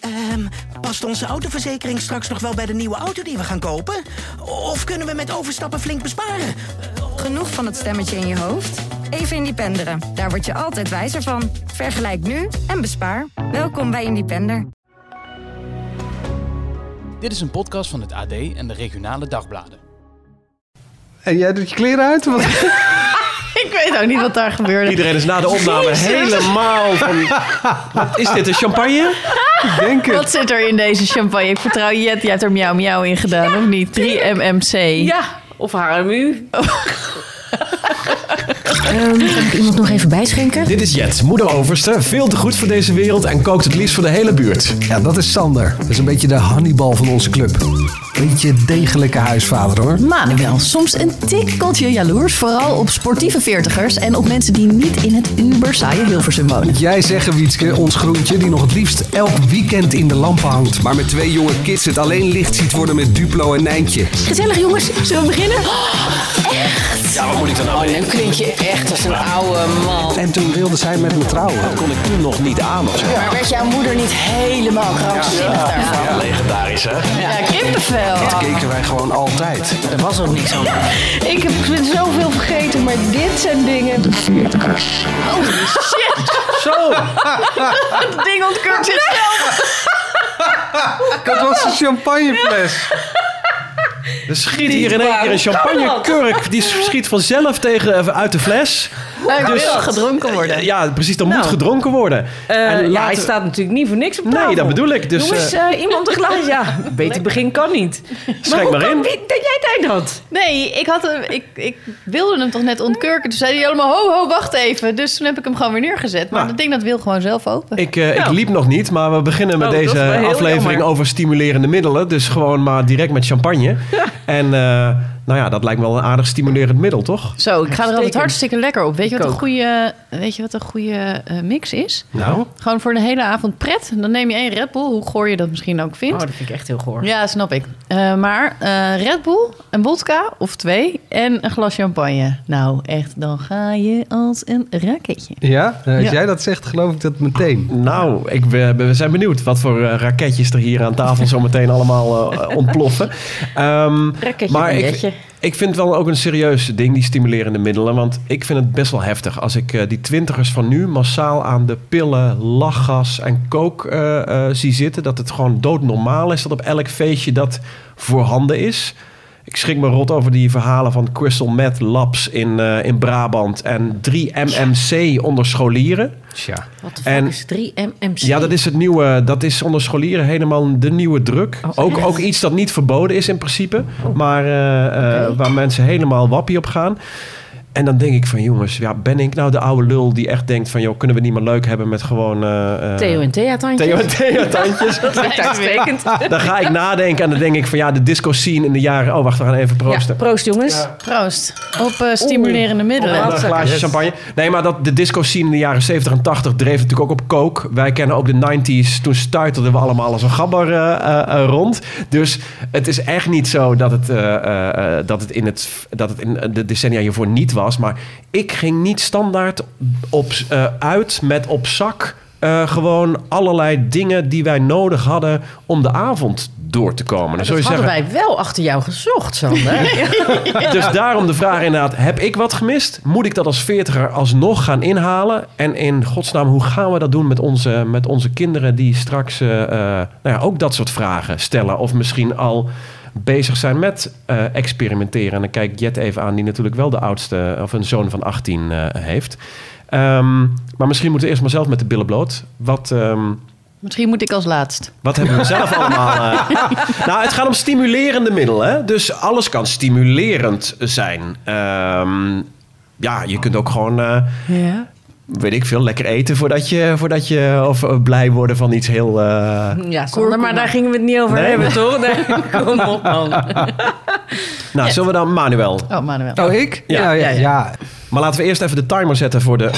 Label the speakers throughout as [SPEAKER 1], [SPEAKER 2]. [SPEAKER 1] Ehm, past onze autoverzekering straks nog wel bij de nieuwe auto die we gaan kopen? Of kunnen we met overstappen flink besparen?
[SPEAKER 2] Genoeg van het stemmetje in je hoofd? Even independeren. Daar word je altijd wijzer van. Vergelijk nu en bespaar. Welkom bij Independer.
[SPEAKER 3] Dit is een podcast van het AD en de regionale dagbladen.
[SPEAKER 4] En jij doet je kleren uit? Wat?
[SPEAKER 5] Ik weet ook niet wat daar gebeurde.
[SPEAKER 6] Iedereen is dus na de opname helemaal van... Wat is dit, een champagne?
[SPEAKER 4] Ik denk het.
[SPEAKER 5] Wat zit er in deze champagne? Ik vertrouw Jet, jij hebt er miauw miauw in gedaan, of niet? 3MMC.
[SPEAKER 7] Ja, of HMU.
[SPEAKER 8] Kan ik iemand nog even bijschenken?
[SPEAKER 6] Dit is Jet, moederoverste. Veel te goed voor deze wereld en kookt het liefst voor de hele buurt.
[SPEAKER 4] Ja, dat is Sander. Dat is een beetje de Hannibal van onze club. Beetje degelijke huisvader hoor.
[SPEAKER 9] Manuel, soms een tikkeltje jaloers, vooral op sportieve veertigers en op mensen die niet in het uber saaie Hilversum wonen.
[SPEAKER 4] Moet jij zeggen, Wietske, ons groentje die nog het liefst elk weekend in de lampen hangt. Maar met twee jonge kids het alleen licht ziet worden met Duplo en Nijntje.
[SPEAKER 9] Gezellig jongens, zullen we beginnen?
[SPEAKER 6] Ja, wat moet ik dan nou
[SPEAKER 7] Nu klink je echt als een oude man.
[SPEAKER 4] En toen wilde zij met me trouwen.
[SPEAKER 6] Kon ik toen nog niet aan of zo?
[SPEAKER 7] Maar werd jouw moeder niet helemaal krankzinnig daarvan?
[SPEAKER 6] Ja, legendarisch hè?
[SPEAKER 5] Ja, kippenvel.
[SPEAKER 4] Keken wij gewoon altijd.
[SPEAKER 7] Er was ook niks aan.
[SPEAKER 5] Ik heb ben zoveel vergeten, maar dit zijn dingen... De veertigers. Oh, shit.
[SPEAKER 6] Zo!
[SPEAKER 5] Dat ding ontkort zichzelf.
[SPEAKER 4] Dat was een champagnefles.
[SPEAKER 6] Er schiet hier in één keer een champagnekurk. Die schiet vanzelf tegen, even uit de fles.
[SPEAKER 5] Hij
[SPEAKER 6] Dus-
[SPEAKER 5] wil gedronken worden.
[SPEAKER 6] Ja, precies. Dan moet
[SPEAKER 7] Nou.
[SPEAKER 6] gedronken worden.
[SPEAKER 7] Eh,
[SPEAKER 6] En
[SPEAKER 7] Ja,
[SPEAKER 6] laten-
[SPEAKER 7] hij staat natuurlijk niet voor niks op tafel.
[SPEAKER 6] Nee, dat bedoel ik. Dus
[SPEAKER 7] Jongens,
[SPEAKER 6] eh
[SPEAKER 7] eh, iemand een glas. Ja, beter begin kan niet.
[SPEAKER 6] schenk
[SPEAKER 7] hoe
[SPEAKER 6] maar
[SPEAKER 7] kan-
[SPEAKER 6] in.
[SPEAKER 7] Wie, dat jij tijd had.
[SPEAKER 5] Nee, ik, had hem, ik, ik wilde hem toch net ontkurken. Toen zei hij allemaal, ho, ho, wacht even. Dus toen heb ik hem gewoon weer neergezet. Maar
[SPEAKER 6] Nou.
[SPEAKER 5] dat ding dat wil gewoon zelf open.
[SPEAKER 6] Ik, eh, ik liep nog niet, maar we beginnen met
[SPEAKER 7] Nou. Oh, dat is wel
[SPEAKER 6] deze
[SPEAKER 7] heel
[SPEAKER 6] aflevering
[SPEAKER 7] jammer.
[SPEAKER 6] over stimulerende middelen. Dus gewoon maar direct met champagne. En eh, nou ja, dat lijkt me wel een aardig stimulerend middel, toch?
[SPEAKER 5] Zo, ik ga er altijd
[SPEAKER 7] Uitstekend.
[SPEAKER 5] hartstikke lekker op. Weet je
[SPEAKER 7] Ik
[SPEAKER 5] wat een
[SPEAKER 7] ook.
[SPEAKER 5] goede, weet je wat een goede eh, mix is?
[SPEAKER 6] Nou,
[SPEAKER 5] Gewoon voor een hele avond pret. Dan neem je één Red Bull, hoe goor je dat misschien ook
[SPEAKER 7] Oh,
[SPEAKER 5] vindt.
[SPEAKER 7] dat vind ik echt heel goor.
[SPEAKER 5] Ja, snap ik. Eh, maar eh, Red Bull, een vodka of twee en een glas champagne. Nou, echt, dan ga je als een raketje.
[SPEAKER 4] Ja, eh, als
[SPEAKER 5] Ja.
[SPEAKER 4] jij dat zegt, geloof ik dat meteen.
[SPEAKER 6] nou ik, we, we zijn benieuwd wat voor eh, raketjes er hier aan tafel zometeen allemaal eh, ontploffen. Ehm,
[SPEAKER 7] Raketje,
[SPEAKER 6] maar ik,
[SPEAKER 7] raketje.
[SPEAKER 6] ik vind het wel ook een serieus ding, die stimulerende middelen. Want ik vind het best wel heftig als ik eh, die twintigers van nu massaal aan de pillen, lachgas en kook eh, eh, zie zitten. Dat het gewoon doodnormaal is dat op elk feestje dat voorhanden is. Ik schrik me rot over die verhalen van Crystal Meth Labs in, eh, in Brabant en 3MMC onder scholieren.
[SPEAKER 4] Tja.
[SPEAKER 7] Wat de
[SPEAKER 6] En-
[SPEAKER 7] fuck is 3MMC?
[SPEAKER 6] Ja, dat is het nieuwe. Dat is onder scholieren helemaal de nieuwe druk.
[SPEAKER 7] Oh,
[SPEAKER 6] ook, ook iets dat niet verboden is in principe. Maar eh, eh, waar mensen helemaal wappie op gaan. En dan denk ik van jongens, ja, ben ik nou de oude lul die echt denkt van joh, kunnen we niet meer leuk hebben met gewoon eh, eh,
[SPEAKER 7] Theo en Thea tandjes.
[SPEAKER 6] Theo en Theo tandjes.
[SPEAKER 7] Dat lijkt uitstekend.
[SPEAKER 6] Dan ga ik nadenken en dan denk ik van ja, de disco scene in de jaren. Oh, wacht, we gaan even
[SPEAKER 7] Ja,
[SPEAKER 6] proosten.
[SPEAKER 7] proost jongens.
[SPEAKER 5] Proost. Op eh, stimulerende
[SPEAKER 6] En
[SPEAKER 7] Oh.
[SPEAKER 5] middelen.
[SPEAKER 6] dan een glaasje champagne. Nee, maar dat, de disco scene in de jaren 70 en 80 dreef natuurlijk ook op coke. Wij kennen ook de 90s. Toen stuiterden we allemaal als een gabber eh, eh, eh, rond. Dus het is echt niet zo dat het, eh, eh, eh, dat het in, het, dat het in eh, de decennia hiervoor niet was. Maar ik ging niet standaard op, eh, uit met op zak. eh, gewoon allerlei dingen die wij nodig hadden om de avond door te komen. Dan zul je
[SPEAKER 7] Dat hadden
[SPEAKER 6] zeggen,
[SPEAKER 7] wij wel achter jou gezocht, Sander.
[SPEAKER 6] dus daarom de vraag inderdaad, heb ik wat gemist? Moet ik dat als veertiger alsnog gaan inhalen? En in godsnaam, hoe gaan we dat doen met onze, met onze kinderen die straks eh, eh, nou ja, ook dat soort vragen stellen? Of misschien al bezig zijn met eh, experimenteren. En dan kijk ik Jet even aan, die natuurlijk wel de oudste, of een zoon van 18 eh, heeft. Ehm, maar misschien moeten we eerst maar zelf met de billen bloot. Wat, ehm,
[SPEAKER 5] Misschien moet ik als laatst.
[SPEAKER 6] wat hebben we zelf allemaal? eh? Nou, het gaat om stimulerende middelen. Hè? Dus alles kan stimulerend zijn. Ehm, ja, je kunt ook gewoon, eh,
[SPEAKER 5] Ja.
[SPEAKER 6] weet ik veel, lekker eten voordat je, voordat je of eh, blij worden van iets heel. eh,
[SPEAKER 7] Ja, Sander, maar daar gingen we het niet over
[SPEAKER 6] Nee,
[SPEAKER 7] hebben, toch? Nee, kom op, man.
[SPEAKER 6] Nou, zullen we dan Manuel?
[SPEAKER 5] Oh, Manuel.
[SPEAKER 4] Oh, ik?
[SPEAKER 6] Ja.
[SPEAKER 4] ja, ja.
[SPEAKER 7] Ja,
[SPEAKER 4] ja.
[SPEAKER 6] Maar laten we eerst even de timer zetten voor de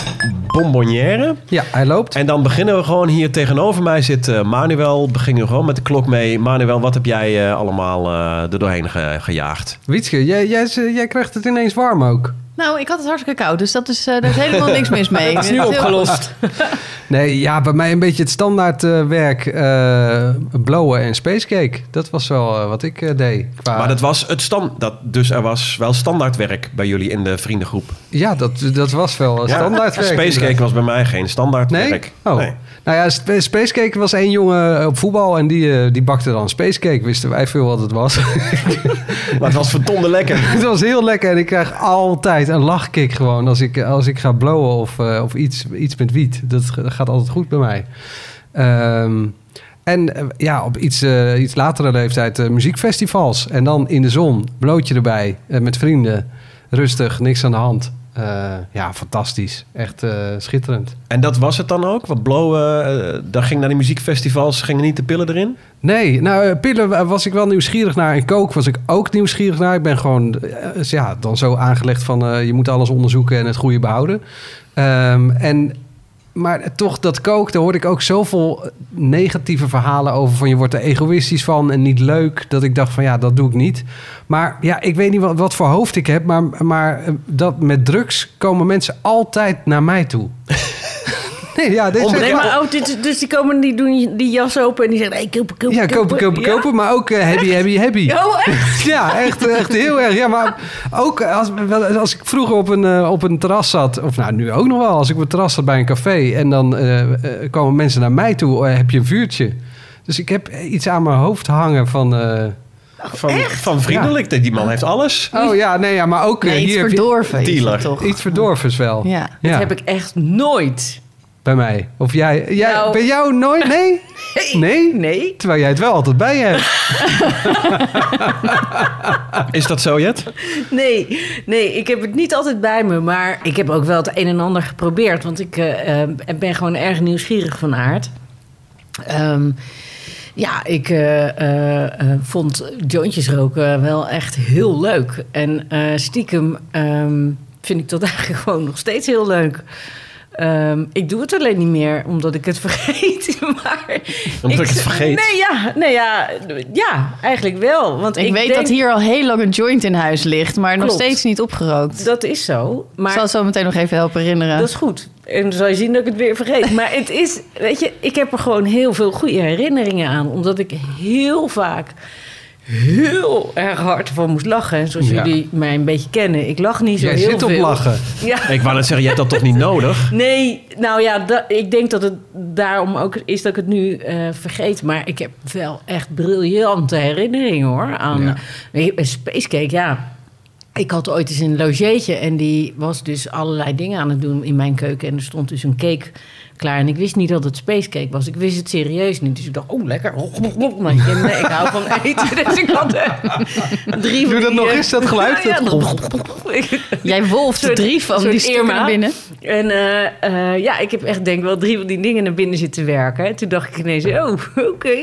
[SPEAKER 6] bonbonnière.
[SPEAKER 4] Ja, hij loopt.
[SPEAKER 6] En dan beginnen we gewoon hier tegenover mij zit eh, Manuel. Beginnen we gewoon met de klok mee. Manuel, wat heb jij eh, allemaal eh, er doorheen ge- gejaagd?
[SPEAKER 4] Wietske, jij, jij, jij krijgt het ineens warm ook.
[SPEAKER 5] Nou, ik had het hartstikke koud, dus dat is, eh, daar is helemaal niks mis mee.
[SPEAKER 7] Het is nu opgelost.
[SPEAKER 4] Nee, ja, bij mij een beetje het standaard eh, werk. eh, blowen en spacecake. Dat was wel eh, wat ik eh, deed. Qua...
[SPEAKER 6] Maar dat was het stand, dat, dus er was wel standaardwerk bij jullie in de vriendengroep.
[SPEAKER 4] Ja, dat, dat was wel een standaard werk.
[SPEAKER 6] Spacecake was bij mij geen standaardwerk.
[SPEAKER 4] Nee? Oh. Nou ja, sp- Spacecake was één jongen op voetbal en die, eh, die bakte dan Spacecake. Wisten wij veel wat het was.
[SPEAKER 6] Maar het was verdomde lekker.
[SPEAKER 4] het was heel lekker en ik krijg altijd een lachkick gewoon als ik, als ik ga blowen of, eh, of iets, iets met wiet. Dat g- dat gaat altijd goed bij mij. Ehm, en eh, ja, op iets, eh, iets latere leeftijd eh, muziekfestivals. En dan in de zon, blootje erbij, eh, met vrienden. Rustig, niks aan de hand. Eh, ja, fantastisch. Echt eh, schitterend.
[SPEAKER 6] En dat was het dan ook? Want blowen, eh, daar ging naar die muziekfestivals, gingen niet de pillen erin?
[SPEAKER 4] Nee, nou, eh, pillen wa- was ik wel nieuwsgierig naar. En kook was ik ook nieuwsgierig naar. Ik ben gewoon, eh, is ja, dan zo aangelegd van... eh, je moet alles onderzoeken en het goede behouden. Ehm, en, maar toch, dat kook, daar hoorde ik ook zoveel eh, negatieve verhalen over... van je wordt er egoïstisch van en niet leuk. Dat ik dacht van, ja, dat doe ik niet. Maar ja, ik weet niet wat, wat voor hoofd ik heb... maar, maar eh, dat met drugs komen mensen altijd naar mij toe. nee, ja, dit is echt
[SPEAKER 7] Nee,
[SPEAKER 4] waar.
[SPEAKER 7] maar, oh, dit- dus die komen die doen die jas open en die zeggen: hey, kopen, kopen.
[SPEAKER 4] Ja, kopen, kopen,
[SPEAKER 7] Ja.
[SPEAKER 4] kopen. Maar ook eh, happy, happy, happy.
[SPEAKER 7] Oh, echt?
[SPEAKER 4] Ja, echt, echt heel erg. Ja, maar ook als, wel- als ik vroeger op een, eh, op een terras zat, of nou nu ook nog wel, als ik op een terras zat bij een café en dan eh, eh, komen mensen naar mij toe, eh, heb je een vuurtje. Dus ik heb iets aan mijn hoofd hangen van. eh,
[SPEAKER 6] Van, van vriendelijk, die man heeft alles.
[SPEAKER 4] oh ja, nee, ja, maar ook eh,
[SPEAKER 5] Nee, iets
[SPEAKER 4] hier heb je
[SPEAKER 5] verdorven is het
[SPEAKER 6] Dealer.
[SPEAKER 5] toch?
[SPEAKER 4] iets verdorvens wel.
[SPEAKER 5] Ja.
[SPEAKER 7] Dat heb ik echt nooit.
[SPEAKER 4] Bij mij. Of jij, jij
[SPEAKER 7] Nou.
[SPEAKER 4] bij jou nooit? Nee? Nee?
[SPEAKER 7] Nee.
[SPEAKER 4] Terwijl jij het wel altijd bij je hebt.
[SPEAKER 6] Is dat zo, Jet?
[SPEAKER 7] Nee, nee, ik heb het niet altijd bij me. Maar ik heb ook wel het een en ander geprobeerd. Want ik eh, eh, ben gewoon erg nieuwsgierig van aard. Ehm, ja, ik eh, eh, eh, vond jointjes roken wel echt heel leuk. En eh, stiekem ehm, vind ik dat eigenlijk gewoon nog steeds heel leuk. Ehm, ik doe het alleen niet meer omdat ik het vergeet. Maar
[SPEAKER 6] Omdat ik het vergeet?
[SPEAKER 7] Nee, ja, nee, ja, ja eigenlijk wel. Want
[SPEAKER 5] Ik, weet
[SPEAKER 7] denk-
[SPEAKER 5] dat hier al heel lang een joint in huis ligt, maar nog
[SPEAKER 7] Klopt.
[SPEAKER 5] steeds niet opgerookt.
[SPEAKER 7] Dat is zo.
[SPEAKER 5] Ik
[SPEAKER 7] Maar
[SPEAKER 5] zal het zo meteen nog even helpen herinneren.
[SPEAKER 7] Dat is goed. En dan zal je zien dat ik het weer vergeet. Maar het is, weet je, ik heb er gewoon heel veel goede herinneringen aan. Omdat ik heel vaak heel erg hard van moest lachen. En zoals
[SPEAKER 4] Ja.
[SPEAKER 7] jullie mij een beetje kennen, ik lach niet zo
[SPEAKER 4] Jij
[SPEAKER 7] heel
[SPEAKER 4] zit op
[SPEAKER 7] veel.
[SPEAKER 4] lachen.
[SPEAKER 7] Ja.
[SPEAKER 6] Ik wou net zeggen, je hebt dat toch niet nodig?
[SPEAKER 7] Nee, nou ja, da- ik denk dat het daarom ook is dat ik het nu eh, vergeet. Maar ik heb wel echt briljante herinneringen hoor. Aan eh,
[SPEAKER 4] Ja.
[SPEAKER 7] Weet je, bij Spacecake, ja. Ik had ooit eens een logeetje en die was dus allerlei dingen aan het doen in mijn keuken. En er stond dus een cake klaar. En ik wist niet dat het spacecake was. Ik wist het serieus niet. Dus ik dacht, oh lekker. Hop, hop, hop. Maar ik, nee, ik hou van eten. Dus ik had eh, drie van
[SPEAKER 4] Doe dat
[SPEAKER 7] die,
[SPEAKER 4] nog
[SPEAKER 7] eh,
[SPEAKER 4] eens, dat geluid.
[SPEAKER 7] ja,
[SPEAKER 4] Dat-
[SPEAKER 7] hop, hop, hop, hop. Ik-
[SPEAKER 5] Jij wolft
[SPEAKER 7] Soort-
[SPEAKER 5] drie van
[SPEAKER 7] soort
[SPEAKER 5] die stukken
[SPEAKER 7] Irma.
[SPEAKER 5] naar binnen.
[SPEAKER 7] en eh, eh, ja, ik heb echt denk ik wel drie van die dingen naar binnen zitten werken. En Toen dacht ik ineens, oh, oké.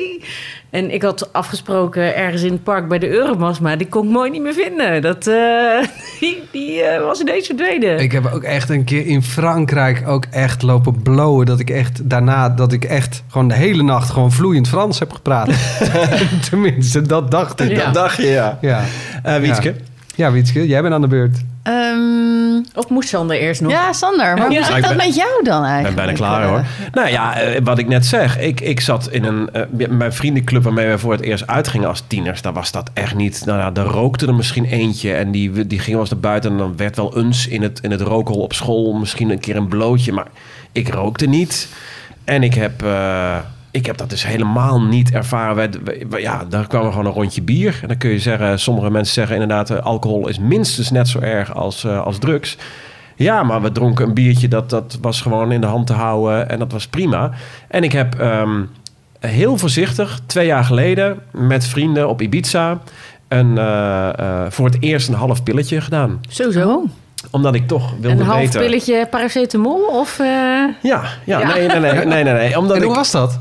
[SPEAKER 7] En ik had afgesproken ergens in het park bij de Eurobas, maar die kon ik mooi niet meer vinden. Dat, eh, die die eh, was ineens verdwenen.
[SPEAKER 4] Ik heb ook echt een keer in Frankrijk ook echt lopen blowen. Dat ik echt daarna, dat ik echt gewoon de hele nacht gewoon vloeiend Frans heb gepraat. Tenminste, dat dacht ik.
[SPEAKER 7] Ja.
[SPEAKER 6] Dat dacht je, ja.
[SPEAKER 4] Ja,
[SPEAKER 6] Eh, Wietske?
[SPEAKER 4] ja Wietske, jij bent aan de beurt.
[SPEAKER 5] Ehm,
[SPEAKER 7] Of moest Sander eerst nog?
[SPEAKER 5] ja, Sander, maar hoe
[SPEAKER 6] Ja,
[SPEAKER 5] zit
[SPEAKER 6] ik
[SPEAKER 5] dat
[SPEAKER 6] ben-
[SPEAKER 5] met jou dan
[SPEAKER 6] Ik
[SPEAKER 5] eigenlijk?
[SPEAKER 6] ben bijna klaar hoor. Nou ja, eh, wat ik net zeg. Ik, ik zat in een, eh, mijn vriendenclub waarmee we voor het eerst uitgingen als tieners. Daar was dat echt niet. Nou ja, daar rookte er misschien eentje. En die, die ging wel eens naar buiten. En dan werd wel eens in het, in het rookhol op school misschien een keer een blootje. Maar ik rookte niet. En ik heb, eh, ik heb dat dus helemaal niet ervaren. Wij- wij- wij- ja, daar kwamen gewoon een rondje bier. En dan kun je zeggen, sommige mensen zeggen inderdaad... eh, alcohol is minstens net zo erg als, eh, als drugs. Ja, maar we dronken een biertje, dat, dat was gewoon in de hand te houden. En dat was prima. En ik heb ehm, heel voorzichtig, twee jaar geleden... met vrienden op Ibiza... Een, eh, eh, voor het eerst een half pilletje gedaan.
[SPEAKER 7] Sowieso.
[SPEAKER 6] Omdat ik toch wilde
[SPEAKER 7] Een half
[SPEAKER 6] weten...
[SPEAKER 7] pilletje paracetamol of... eh,
[SPEAKER 6] Ja, ja, Nee, nee, nee, nee, nee, nee. Omdat
[SPEAKER 4] en
[SPEAKER 6] ik,
[SPEAKER 4] hoe was dat?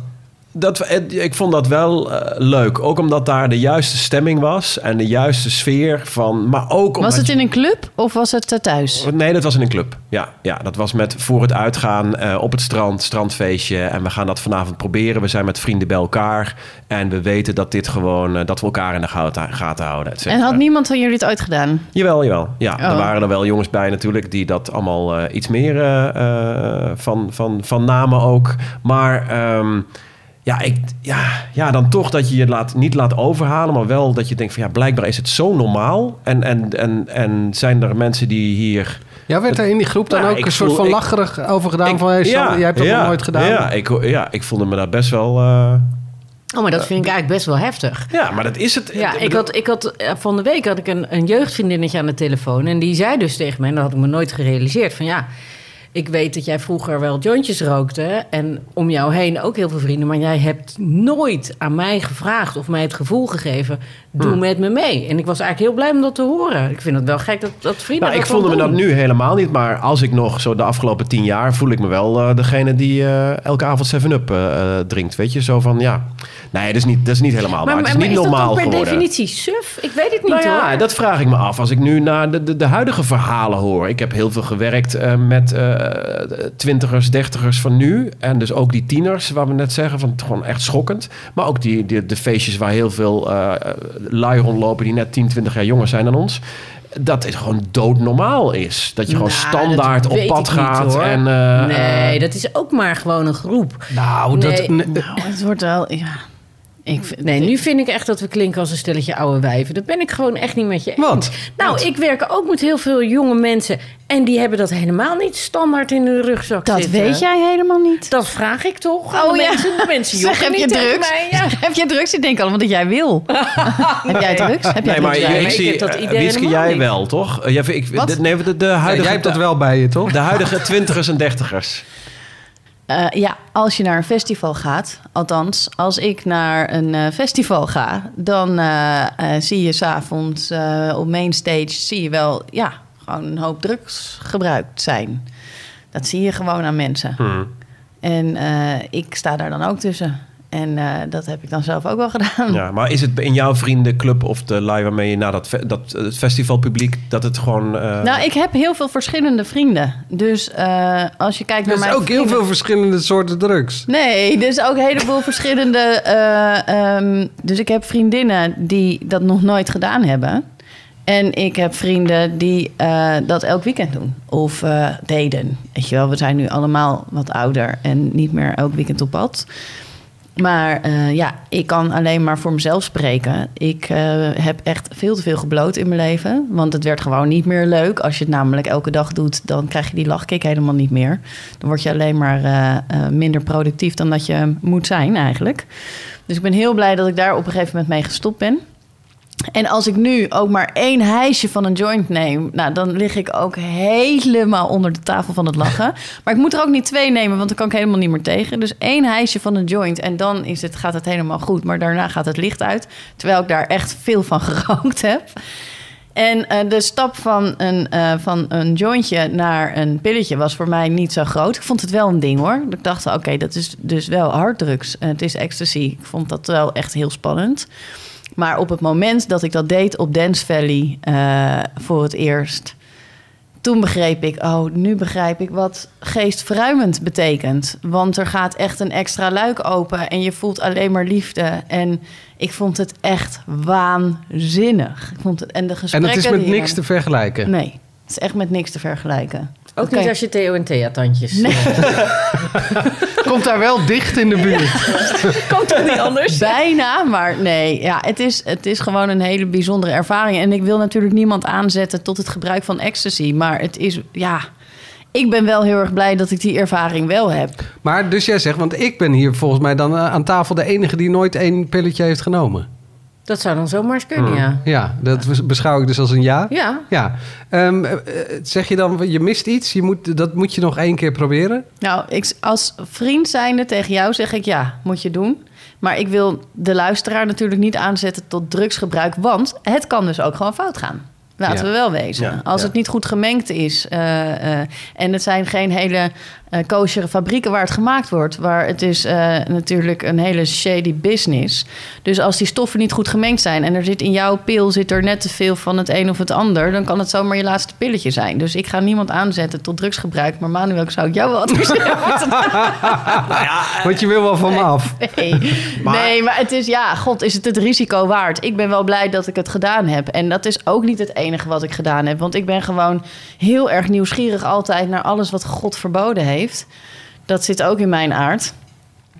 [SPEAKER 6] dat, het- ik vond dat wel eh, leuk. Ook omdat daar de juiste stemming was en de juiste sfeer van. Maar ook omdat
[SPEAKER 5] Was het
[SPEAKER 6] je-
[SPEAKER 5] in een club of was het eh, thuis?
[SPEAKER 6] Nee, dat was in een club. Ja, ja dat was met voor het uitgaan eh, op het strand, strandfeestje. En we gaan dat vanavond proberen. We zijn met vrienden bij elkaar. En we weten dat dit gewoon, eh, dat we elkaar in de gaten, gaten houden. et
[SPEAKER 5] En
[SPEAKER 6] cetera.
[SPEAKER 5] had niemand van jullie het ooit gedaan?
[SPEAKER 6] Jawel, jawel. Ja,
[SPEAKER 5] Oh.
[SPEAKER 6] er waren er wel jongens bij natuurlijk die dat allemaal eh, iets meer eh, eh, van, van, van namen ook. Maar ehm, ja, ik, ja, ja, dan toch dat je je laat, niet laat overhalen, maar wel dat je denkt van ja, blijkbaar is het zo normaal. En, en, en, en zijn er mensen die hier...
[SPEAKER 4] Ja, werd er in die groep dan
[SPEAKER 6] Nou,
[SPEAKER 4] ook
[SPEAKER 6] ik
[SPEAKER 4] een soort
[SPEAKER 6] voel-
[SPEAKER 4] van
[SPEAKER 6] ik-
[SPEAKER 4] lacherig over gedaan? van, hey, Sander, jij hebt dat
[SPEAKER 6] ja,
[SPEAKER 4] nog nooit gedaan.
[SPEAKER 6] Ja ik, ja, ik voelde me daar best wel... eh,
[SPEAKER 7] Oh, maar dat vind ik eigenlijk best wel heftig.
[SPEAKER 6] ja, maar dat is het.
[SPEAKER 7] Ja, ik had, ik had, eh, van de week had ik een, een jeugdvriendinnetje aan de telefoon. En die zei dus tegen mij, en dat had ik me nooit gerealiseerd, van ja... Ik weet dat jij vroeger wel jointjes rookte en om jou heen ook heel veel vrienden. Maar jij hebt nooit aan mij gevraagd of mij het gevoel gegeven, doe
[SPEAKER 6] Hmm.
[SPEAKER 7] met me mee. En ik was eigenlijk heel blij om dat te horen. Ik vind het wel gek dat, dat vrienden
[SPEAKER 6] Nou, ik
[SPEAKER 7] dat dan
[SPEAKER 6] voelde me dat
[SPEAKER 7] doen.
[SPEAKER 6] nu helemaal niet, maar als ik nog zo de afgelopen tien jaar voel ik me wel eh, degene die eh, elke avond 7-up eh, eh, drinkt. Weet je, zo van ja. Nee, dat is niet, dat is niet helemaal waar.
[SPEAKER 7] Maar, maar
[SPEAKER 6] het is niet
[SPEAKER 7] is dat
[SPEAKER 6] normaal
[SPEAKER 7] dan per
[SPEAKER 6] geworden.
[SPEAKER 7] definitie suf? Ik weet het niet
[SPEAKER 6] Nou ja,
[SPEAKER 7] hoor.
[SPEAKER 6] dat vraag ik me af. Als ik nu naar de, de, de huidige verhalen hoor. Ik heb heel veel gewerkt eh, met eh, twintigers, dertigers van nu. En dus ook die tieners, waar we net zeggen, van het gewoon echt schokkend. Maar ook die, die, de feestjes waar heel veel eh lui rondlopen die net 10, 20 jaar jonger zijn dan ons. Dat het gewoon doodnormaal is. Dat je gewoon
[SPEAKER 7] Nou,
[SPEAKER 6] standaard
[SPEAKER 7] dat
[SPEAKER 6] op
[SPEAKER 7] weet
[SPEAKER 6] pad
[SPEAKER 7] ik niet,
[SPEAKER 6] gaat.
[SPEAKER 7] hoor.
[SPEAKER 6] en, eh,
[SPEAKER 7] nee, dat is ook maar gewoon een groep.
[SPEAKER 4] Nou, dat...
[SPEAKER 7] Nee.
[SPEAKER 4] nee,
[SPEAKER 5] Nou, het wordt wel... Ja. Ik, vind-
[SPEAKER 7] Nee, nu vind ik echt dat we klinken als een stelletje oude wijven. Dat ben ik gewoon echt niet met je eens.
[SPEAKER 4] Wat?
[SPEAKER 7] Nou, ik werk ook met heel veel jonge mensen. En die hebben dat helemaal niet standaard in hun rugzak
[SPEAKER 5] Dat
[SPEAKER 7] zitten.
[SPEAKER 5] weet jij helemaal niet.
[SPEAKER 7] Dat vraag ik toch aan
[SPEAKER 5] Oh,
[SPEAKER 7] de
[SPEAKER 5] ja.
[SPEAKER 7] mensen. De mensen jokken
[SPEAKER 5] heb je
[SPEAKER 7] niet tegen
[SPEAKER 5] drugs?
[SPEAKER 7] mij. Ja.
[SPEAKER 5] Heb jij drugs? Ik denk allemaal dat jij wil. Heb jij drugs? Heb jij
[SPEAKER 6] Nee, maar
[SPEAKER 5] drugs?
[SPEAKER 7] maar
[SPEAKER 6] ik,
[SPEAKER 7] ik
[SPEAKER 6] zie,
[SPEAKER 7] heb dat
[SPEAKER 6] eh,
[SPEAKER 7] idee
[SPEAKER 6] Wieske,
[SPEAKER 7] helemaal
[SPEAKER 6] jij
[SPEAKER 7] niet.
[SPEAKER 6] wel, toch? Eh, jij vindt- ik,
[SPEAKER 5] Wat?
[SPEAKER 6] de, nee, de, de huidige,
[SPEAKER 4] jij hebt dat wel bij je, toch?
[SPEAKER 6] de huidige twintigers en dertigers.
[SPEAKER 5] Eh, ja, als je naar een festival gaat, althans, als ik naar een eh, festival ga, dan eh, eh, zie je s'avonds eh op mainstage zie je wel, ja, gewoon een hoop drugs gebruikt zijn. Dat zie je gewoon aan mensen.
[SPEAKER 4] Hmm.
[SPEAKER 5] En eh, ik sta daar dan ook tussen. En eh, dat heb ik dan zelf ook wel gedaan.
[SPEAKER 6] Ja, maar is het in jouw vriendenclub of de lui waarmee je naar dat, fe- dat eh, festivalpubliek dat het gewoon. eh,
[SPEAKER 5] Nou, ik heb heel veel verschillende vrienden. Dus eh, als je kijkt
[SPEAKER 4] Er
[SPEAKER 5] naar
[SPEAKER 4] is
[SPEAKER 5] mijn
[SPEAKER 4] ook heel
[SPEAKER 5] vrienden-
[SPEAKER 4] veel verschillende soorten drugs.
[SPEAKER 5] Nee, dus ook een heleboel verschillende. eh, ehm, dus ik heb vriendinnen die dat nog nooit gedaan hebben. En ik heb vrienden die eh, dat elk weekend doen. Of eh, deden. Weet je wel, we zijn nu allemaal wat ouder en niet meer elk weekend op pad. Maar eh, ja, ik kan alleen maar voor mezelf spreken. Ik eh, heb echt veel te veel gebloot in mijn leven. Want het werd gewoon niet meer leuk. Als je het namelijk elke dag doet, dan krijg je die lachkick helemaal niet meer. Dan word je alleen maar eh, eh, minder productief dan dat je moet zijn eigenlijk. Dus ik ben heel blij dat ik daar op een gegeven moment mee gestopt ben. En als ik nu ook maar één hijsje van een joint neem, nou, dan lig ik ook helemaal onder de tafel van het lachen. Maar ik moet er ook niet twee nemen, want dan kan ik helemaal niet meer tegen. Dus één hijsje van een joint en dan is het, gaat het helemaal goed. Maar daarna gaat het licht uit, terwijl ik daar echt veel van gerookt heb. En eh, de stap van een, eh, van een jointje naar een pilletje was voor mij niet zo groot. Ik vond het wel een ding hoor. Ik dacht, oké, dat is dus wel harddrugs. Eh, het is ecstasy. Ik vond dat wel echt heel spannend. Maar op het moment dat ik dat deed op Dance Valley eh, voor het eerst, toen begreep ik, oh, nu begrijp ik wat geestverruimend betekent. Want er gaat echt een extra luik open en je voelt alleen maar liefde. En ik vond het echt waanzinnig. Ik vond het, en de
[SPEAKER 4] En
[SPEAKER 5] gesprekken.
[SPEAKER 4] dat is met
[SPEAKER 5] die je
[SPEAKER 4] niks te
[SPEAKER 5] dan-
[SPEAKER 4] vergelijken.
[SPEAKER 5] Nee, het is echt met niks te vergelijken.
[SPEAKER 7] Ook
[SPEAKER 5] Oké.
[SPEAKER 7] niet als je Theo en Thea tandjes. eh,
[SPEAKER 4] Komt daar wel dicht in de buurt.
[SPEAKER 7] Kan toch niet anders?
[SPEAKER 5] Bijna, maar nee. Ja, het, is, het is gewoon een hele bijzondere ervaring. En ik wil natuurlijk niemand aanzetten tot het gebruik van ecstasy. Maar het is, ja... Ik ben wel heel erg blij dat ik die ervaring wel heb.
[SPEAKER 4] Maar dus jij zegt, want ik ben hier volgens mij dan eh, aan tafel de enige die nooit één pilletje heeft genomen.
[SPEAKER 7] Dat zou dan zomaar eens
[SPEAKER 4] Hmm.
[SPEAKER 7] kunnen, ja.
[SPEAKER 4] Ja, dat was- beschouw ik dus als een ja.
[SPEAKER 7] Ja.
[SPEAKER 4] Ja. Ehm, eh, eh, zeg je dan, je mist iets, je moet, dat moet je nog één keer proberen?
[SPEAKER 5] Nou, ik, als vriend zijnde tegen jou zeg ik ja, moet je doen. Maar ik wil de luisteraar natuurlijk niet aanzetten tot drugsgebruik. Want het kan dus ook gewoon fout gaan. Laten
[SPEAKER 4] Ja.
[SPEAKER 5] we wel wezen.
[SPEAKER 6] Ja,
[SPEAKER 5] Als
[SPEAKER 6] ja.
[SPEAKER 5] het niet goed gemengd is eh, eh, en het zijn geen hele eh koshere fabrieken waar het gemaakt wordt, waar het is eh, natuurlijk een hele shady business. Dus als die stoffen niet goed gemengd zijn en er zit in jouw pil zit er net te veel van het een of het ander, dan kan het zomaar je laatste pilletje zijn. Dus ik ga niemand aanzetten tot drugsgebruik, maar Manuel, ik zou ik jou wel adviseren.
[SPEAKER 4] Want je wil wel van
[SPEAKER 7] Eh,
[SPEAKER 4] me af.
[SPEAKER 5] Nee. nee, maar het is ja, god, is het het risico waard? Ik ben wel blij dat ik het gedaan heb. En dat is ook niet het enige wat ik gedaan heb. Want ik ben gewoon heel erg nieuwsgierig altijd naar alles wat God verboden heeft. Dat zit ook in mijn aard.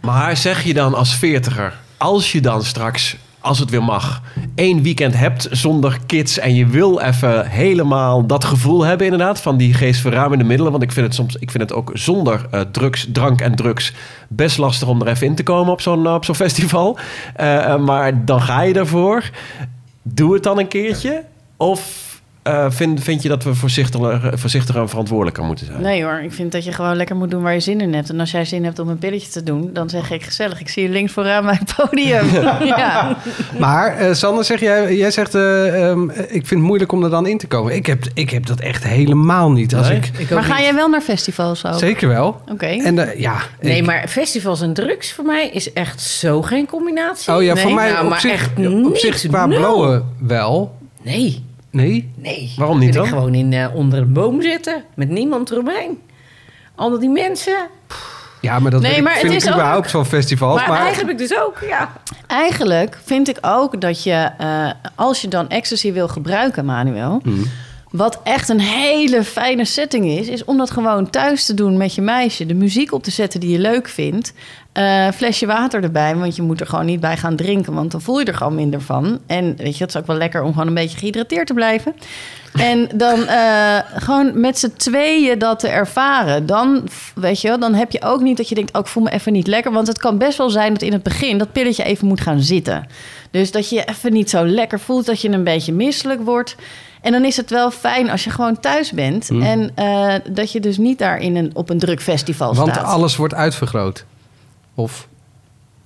[SPEAKER 6] Maar zeg je dan als veertiger, als je dan straks, als het weer mag, één weekend hebt zonder kids en je wil even helemaal dat gevoel hebben inderdaad van die geestverruimende middelen, want ik vind het soms, ik vind het ook zonder eh, drugs, drank en drugs best lastig om er even in te komen op zo'n op zo'n festival. Eh, eh, maar dan ga je ervoor. Doe het dan een keertje. Of eh, vind, vind je dat we voorzichtiger, voorzichtiger en verantwoordelijker moeten zijn?
[SPEAKER 5] Nee hoor, ik vind dat je gewoon lekker moet doen waar je zin in hebt. En als jij zin hebt om een pilletje te doen, dan zeg ik gezellig. Ik zie je links vooraan bij het podium. ja.
[SPEAKER 4] Maar eh Sander, zeg jij, jij zegt, eh, ehm, ik vind het moeilijk om er dan in te komen. Ik heb, ik heb dat echt helemaal niet. Als
[SPEAKER 6] Nee?
[SPEAKER 4] ik,
[SPEAKER 5] Maar ga jij wel naar festivals ook?
[SPEAKER 4] Zeker wel.
[SPEAKER 5] Oké.
[SPEAKER 4] En eh, ja,
[SPEAKER 7] Oh. Nee,
[SPEAKER 4] ik-
[SPEAKER 7] maar festivals en drugs voor mij is echt zo geen combinatie.
[SPEAKER 4] Oh ja,
[SPEAKER 7] Nee.
[SPEAKER 4] voor mij
[SPEAKER 7] Nou,
[SPEAKER 4] op,
[SPEAKER 7] maar
[SPEAKER 4] zich,
[SPEAKER 7] echt
[SPEAKER 4] op
[SPEAKER 7] niks.
[SPEAKER 4] zich qua
[SPEAKER 7] Nul.
[SPEAKER 4] blowen wel.
[SPEAKER 7] Nee,
[SPEAKER 4] Nee?
[SPEAKER 7] nee.
[SPEAKER 6] Waarom niet
[SPEAKER 7] Wil
[SPEAKER 6] dan?
[SPEAKER 7] Ik gewoon in, eh, onder een boom zitten met niemand eromheen. Al die mensen.
[SPEAKER 4] Ja, maar dat
[SPEAKER 5] Nee,
[SPEAKER 4] weet ik-
[SPEAKER 5] maar het
[SPEAKER 4] vind ik
[SPEAKER 5] is ook-
[SPEAKER 4] überhaupt van festivals. Maar,
[SPEAKER 7] Maar, eigenlijk dus ook, ja.
[SPEAKER 5] Eigenlijk vind ik ook dat je, eh, als je dan ecstasy wil gebruiken, Manuel. Wat echt een hele fijne setting is, is om dat gewoon thuis te doen met je meisje. De muziek op te zetten die je leuk vindt. Eh, flesje water erbij, want je moet er gewoon niet bij gaan drinken. Want dan voel je er gewoon minder van. En weet je, het is ook wel lekker om gewoon een beetje gehydrateerd te blijven. En dan eh, gewoon met z'n tweeën dat te ervaren. Dan, f- weet je, wel, dan heb je ook niet dat je denkt... oh, ik voel me even niet lekker. Want het kan best wel zijn dat in het begin... dat pilletje even moet gaan zitten. Dus dat je je even niet zo lekker voelt. Dat je een beetje misselijk wordt. En dan is het wel fijn als je gewoon thuis bent. En eh, dat je dus niet daar in een, op een druk festival
[SPEAKER 4] want
[SPEAKER 5] staat.
[SPEAKER 4] alles wordt uitvergroot. Of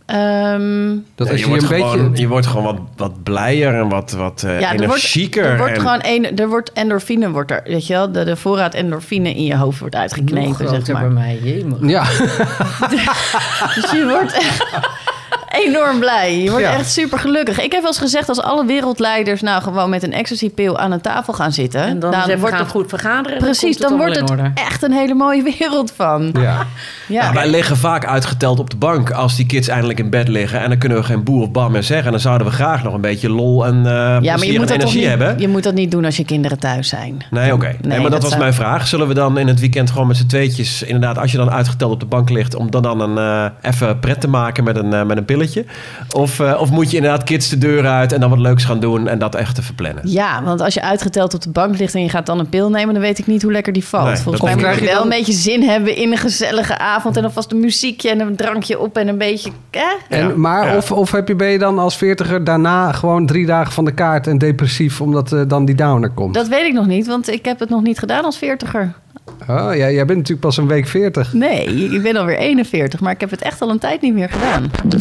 [SPEAKER 5] Ehm,
[SPEAKER 4] dat
[SPEAKER 6] Ja,
[SPEAKER 4] als
[SPEAKER 6] je,
[SPEAKER 4] je,
[SPEAKER 6] wordt
[SPEAKER 4] een beetje...
[SPEAKER 6] gewoon, je wordt gewoon wat, wat blijer en wat, wat
[SPEAKER 5] ja,
[SPEAKER 6] eh,
[SPEAKER 5] er wordt,
[SPEAKER 6] energieker.
[SPEAKER 5] er wordt
[SPEAKER 6] en-
[SPEAKER 5] gewoon een, er wordt endorfine, wordt er, weet je wel, de, de voorraad endorfine in je hoofd wordt
[SPEAKER 7] Nog
[SPEAKER 5] uitgeknepen.
[SPEAKER 7] groter
[SPEAKER 5] Zeg maar.
[SPEAKER 7] bij mij, jemig.
[SPEAKER 4] Ja,
[SPEAKER 5] Dus je wordt echt enorm blij. Je wordt
[SPEAKER 4] Ja.
[SPEAKER 5] echt super gelukkig. Ik heb wel eens gezegd, als alle wereldleiders nou gewoon met een ecstasy-pil aan een tafel gaan zitten,
[SPEAKER 7] En Nou, dan,
[SPEAKER 5] dan
[SPEAKER 7] wordt
[SPEAKER 5] wordt het
[SPEAKER 7] goed vergaderen.
[SPEAKER 5] Precies, dan, wordt het echt een hele mooie wereld van.
[SPEAKER 4] ja.
[SPEAKER 5] Ja.
[SPEAKER 6] Ja, wij liggen vaak uitgeteld op de bank als die kids eindelijk in bed liggen. En dan kunnen we geen boer of bam meer zeggen. En dan zouden we graag nog een beetje lol en, eh
[SPEAKER 5] Ja, maar je moet,
[SPEAKER 6] plezier en
[SPEAKER 5] dat toch
[SPEAKER 6] energie
[SPEAKER 5] niet,
[SPEAKER 6] hebben.
[SPEAKER 5] je moet dat niet doen als je kinderen thuis zijn.
[SPEAKER 6] Nee, oké. Nee, maar dat,
[SPEAKER 5] dat
[SPEAKER 6] was
[SPEAKER 5] zou-
[SPEAKER 6] mijn vraag. Zullen we dan in het weekend gewoon met z'n tweetjes... inderdaad, als je dan uitgeteld op de bank ligt... om dan, dan een, eh, even pret te maken met een, eh, met een pilletje? Of, eh, of moet je inderdaad kids de deur uit en dan wat leuks gaan doen... en dat echt te verplannen?
[SPEAKER 5] Ja, want als je uitgeteld op de bank ligt en je gaat dan een pil nemen, dan weet ik niet hoe lekker die valt.
[SPEAKER 6] Nee, dat
[SPEAKER 5] Volgens
[SPEAKER 6] is
[SPEAKER 5] mij
[SPEAKER 6] niet.
[SPEAKER 5] moet
[SPEAKER 4] Krijg
[SPEAKER 5] je
[SPEAKER 4] je
[SPEAKER 5] wel
[SPEAKER 4] dan-
[SPEAKER 5] een beetje zin hebben in een gezellige avond en alvast een muziekje en een drankje op en een beetje. Hè?
[SPEAKER 4] En,
[SPEAKER 6] Ja,
[SPEAKER 4] maar
[SPEAKER 6] ja.
[SPEAKER 4] Of, of heb je, ben je dan als veertiger daarna gewoon drie dagen van de kaart en depressief omdat eh, dan die downer komt?
[SPEAKER 5] Dat weet ik nog niet, want ik heb het nog niet gedaan als veertiger.
[SPEAKER 4] Oh, ja, jij bent natuurlijk pas een week veertig.
[SPEAKER 5] Nee, ik ben alweer 41, maar ik heb het echt al een tijd niet meer gedaan.
[SPEAKER 7] Oh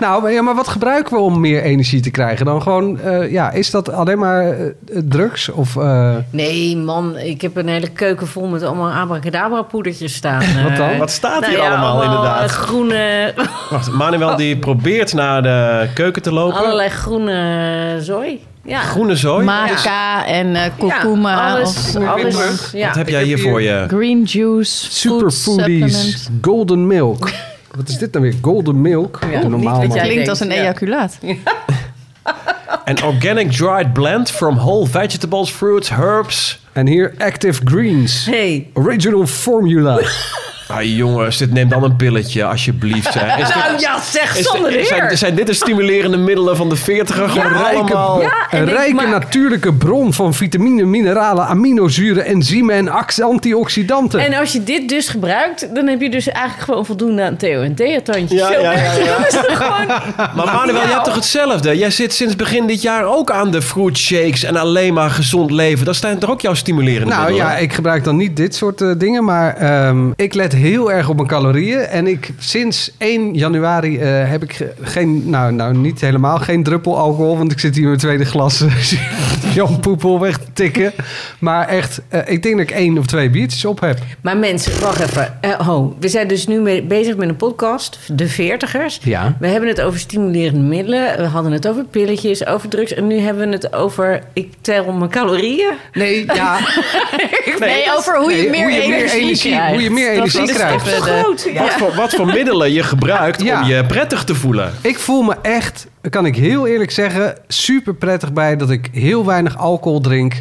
[SPEAKER 4] Nou, maar, ja, maar wat gebruiken we om meer energie te krijgen dan gewoon? eh, ja, is dat alleen maar eh, drugs of eh,
[SPEAKER 7] Nee, man, ik heb een hele keuken vol met allemaal abracadabra poedertjes staan.
[SPEAKER 4] Wat dan?
[SPEAKER 7] Eh,
[SPEAKER 6] Wat staat
[SPEAKER 7] nou
[SPEAKER 6] hier
[SPEAKER 7] ja,
[SPEAKER 6] allemaal,
[SPEAKER 7] eh,
[SPEAKER 6] inderdaad?
[SPEAKER 7] Groene,
[SPEAKER 6] Wacht, Manuel die probeert naar de keuken te lopen.
[SPEAKER 7] Oh. allerlei groene eh, zooi. Ja.
[SPEAKER 6] Groene zooi.
[SPEAKER 5] Marika en eh
[SPEAKER 7] Ja,
[SPEAKER 5] kurkuma
[SPEAKER 7] alles,
[SPEAKER 5] of
[SPEAKER 7] alles. Ja.
[SPEAKER 6] Wat heb jij hier voor je?
[SPEAKER 5] green juice, food
[SPEAKER 4] superfoodies,
[SPEAKER 5] supplement.
[SPEAKER 4] golden milk? Wat is dit dan weer? Golden milk?
[SPEAKER 7] Ja,
[SPEAKER 4] Doe normaal
[SPEAKER 7] niet dat
[SPEAKER 4] man.
[SPEAKER 7] jij-
[SPEAKER 5] Klinkt als een
[SPEAKER 7] Ja.
[SPEAKER 5] ejaculaat.
[SPEAKER 6] An organic dried blend from whole vegetables, fruits, herbs.
[SPEAKER 4] En hier Active Greens.
[SPEAKER 7] Hey.
[SPEAKER 4] Original formula.
[SPEAKER 6] Ah jongens, dit neemt dan een pilletje, alsjeblieft. Hè. Is dit-
[SPEAKER 7] Nou ja, zeg
[SPEAKER 6] is-
[SPEAKER 7] zonder
[SPEAKER 6] is- zijn,
[SPEAKER 7] weer.
[SPEAKER 6] zijn dit de stimulerende middelen van de veertiger? Gewoon
[SPEAKER 4] rijke,
[SPEAKER 6] allemaal...
[SPEAKER 7] Ja, en
[SPEAKER 4] een
[SPEAKER 7] denk
[SPEAKER 4] rijke
[SPEAKER 7] maar-
[SPEAKER 4] natuurlijke bron van vitamine, mineralen, aminozuren, enzymen en ax- antioxidanten.
[SPEAKER 7] En als je dit dus gebruikt, dan heb je dus eigenlijk gewoon voldoende aan THT-tandjes.
[SPEAKER 6] Ja, ja, ja,
[SPEAKER 7] Dat is toch gewoon
[SPEAKER 6] Maar Manuel,
[SPEAKER 7] nou.
[SPEAKER 6] jij hebt toch hetzelfde? Jij zit sinds begin dit jaar ook aan de fruit shakes en alleen maar gezond leven. Dat zijn toch ook jouw stimulerende
[SPEAKER 4] nou
[SPEAKER 6] middelen?
[SPEAKER 4] ja, ik gebruik dan niet dit soort eh, dingen, maar ehm, ik let heel erg op mijn calorieën. En ik, sinds 1 januari eh, heb ik ge- geen, nou, nou niet helemaal, geen druppel alcohol. Want ik zit hier met mijn tweede glas eh, Jan Poepel weg te tikken. Maar echt, eh, ik denk dat ik één of twee biertjes op heb.
[SPEAKER 7] Maar mensen, wacht even. Eh, ho, we zijn dus nu mee- bezig met een podcast, De Veertigers.
[SPEAKER 4] Ja.
[SPEAKER 7] We hebben het over stimulerende middelen. We hadden het over pilletjes, over drugs. En nu hebben we het over, ik tel mijn calorieën.
[SPEAKER 4] Nee, ja.
[SPEAKER 5] Nee, over hoe je
[SPEAKER 4] Nee,
[SPEAKER 5] meer
[SPEAKER 4] hoe je meer
[SPEAKER 5] energie,
[SPEAKER 4] energie-
[SPEAKER 5] krijgt.
[SPEAKER 4] hoe je meer
[SPEAKER 5] Dat
[SPEAKER 4] energie
[SPEAKER 5] is de
[SPEAKER 4] krijgt.
[SPEAKER 5] stappen, de-
[SPEAKER 7] Groot.
[SPEAKER 6] Wat, voor, wat voor middelen je gebruikt
[SPEAKER 4] Ja.
[SPEAKER 6] om je prettig te voelen.
[SPEAKER 4] Ik voel me echt, kan ik heel eerlijk zeggen, super prettig bij dat ik heel weinig alcohol drink.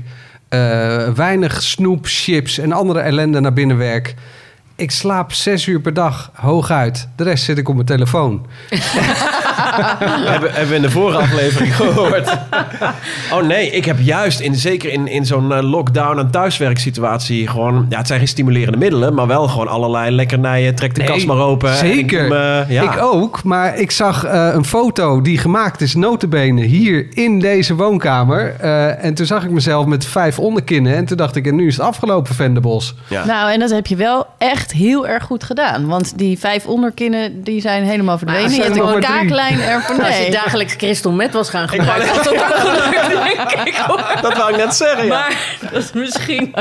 [SPEAKER 4] eh, weinig snoep, chips en andere ellende naar binnen werk. Ik slaap zes uur per dag, hooguit. De rest zit ik op mijn telefoon.
[SPEAKER 6] hebben, hebben we in de vorige aflevering gehoord. Oh nee, ik heb juist, in, zeker in, in zo'n eh, lockdown- en thuiswerksituatie... gewoon, ja, het zijn geen stimulerende middelen... maar wel gewoon allerlei lekkernijen. Trek de
[SPEAKER 4] Nee,
[SPEAKER 6] kast maar open. en
[SPEAKER 4] Zeker.
[SPEAKER 6] Ik, doe me- ja.
[SPEAKER 4] Ik ook, maar ik zag eh, een foto die gemaakt is, notabene, hier in deze woonkamer. Eh, en toen zag ik mezelf met vijf onderkinnen. En toen dacht ik, en nu is het afgelopen, Venderbos.
[SPEAKER 6] Ja.
[SPEAKER 5] Nou, en dat heb je wel echt heel erg goed gedaan. Want die vijf onderkinnen, die zijn helemaal verdwenen.
[SPEAKER 4] er
[SPEAKER 5] Je
[SPEAKER 4] zijn
[SPEAKER 5] hebt
[SPEAKER 4] er
[SPEAKER 5] een
[SPEAKER 4] nog Nou, maar drie.
[SPEAKER 5] kaaklijn ervan.
[SPEAKER 7] Als je
[SPEAKER 5] Nee.
[SPEAKER 7] dagelijks crystal meth was gaan gebruiken, was dat ook wel gelukt, denk ik. hoor.
[SPEAKER 6] Dat wou ik net zeggen, ja.
[SPEAKER 7] Maar dat is misschien...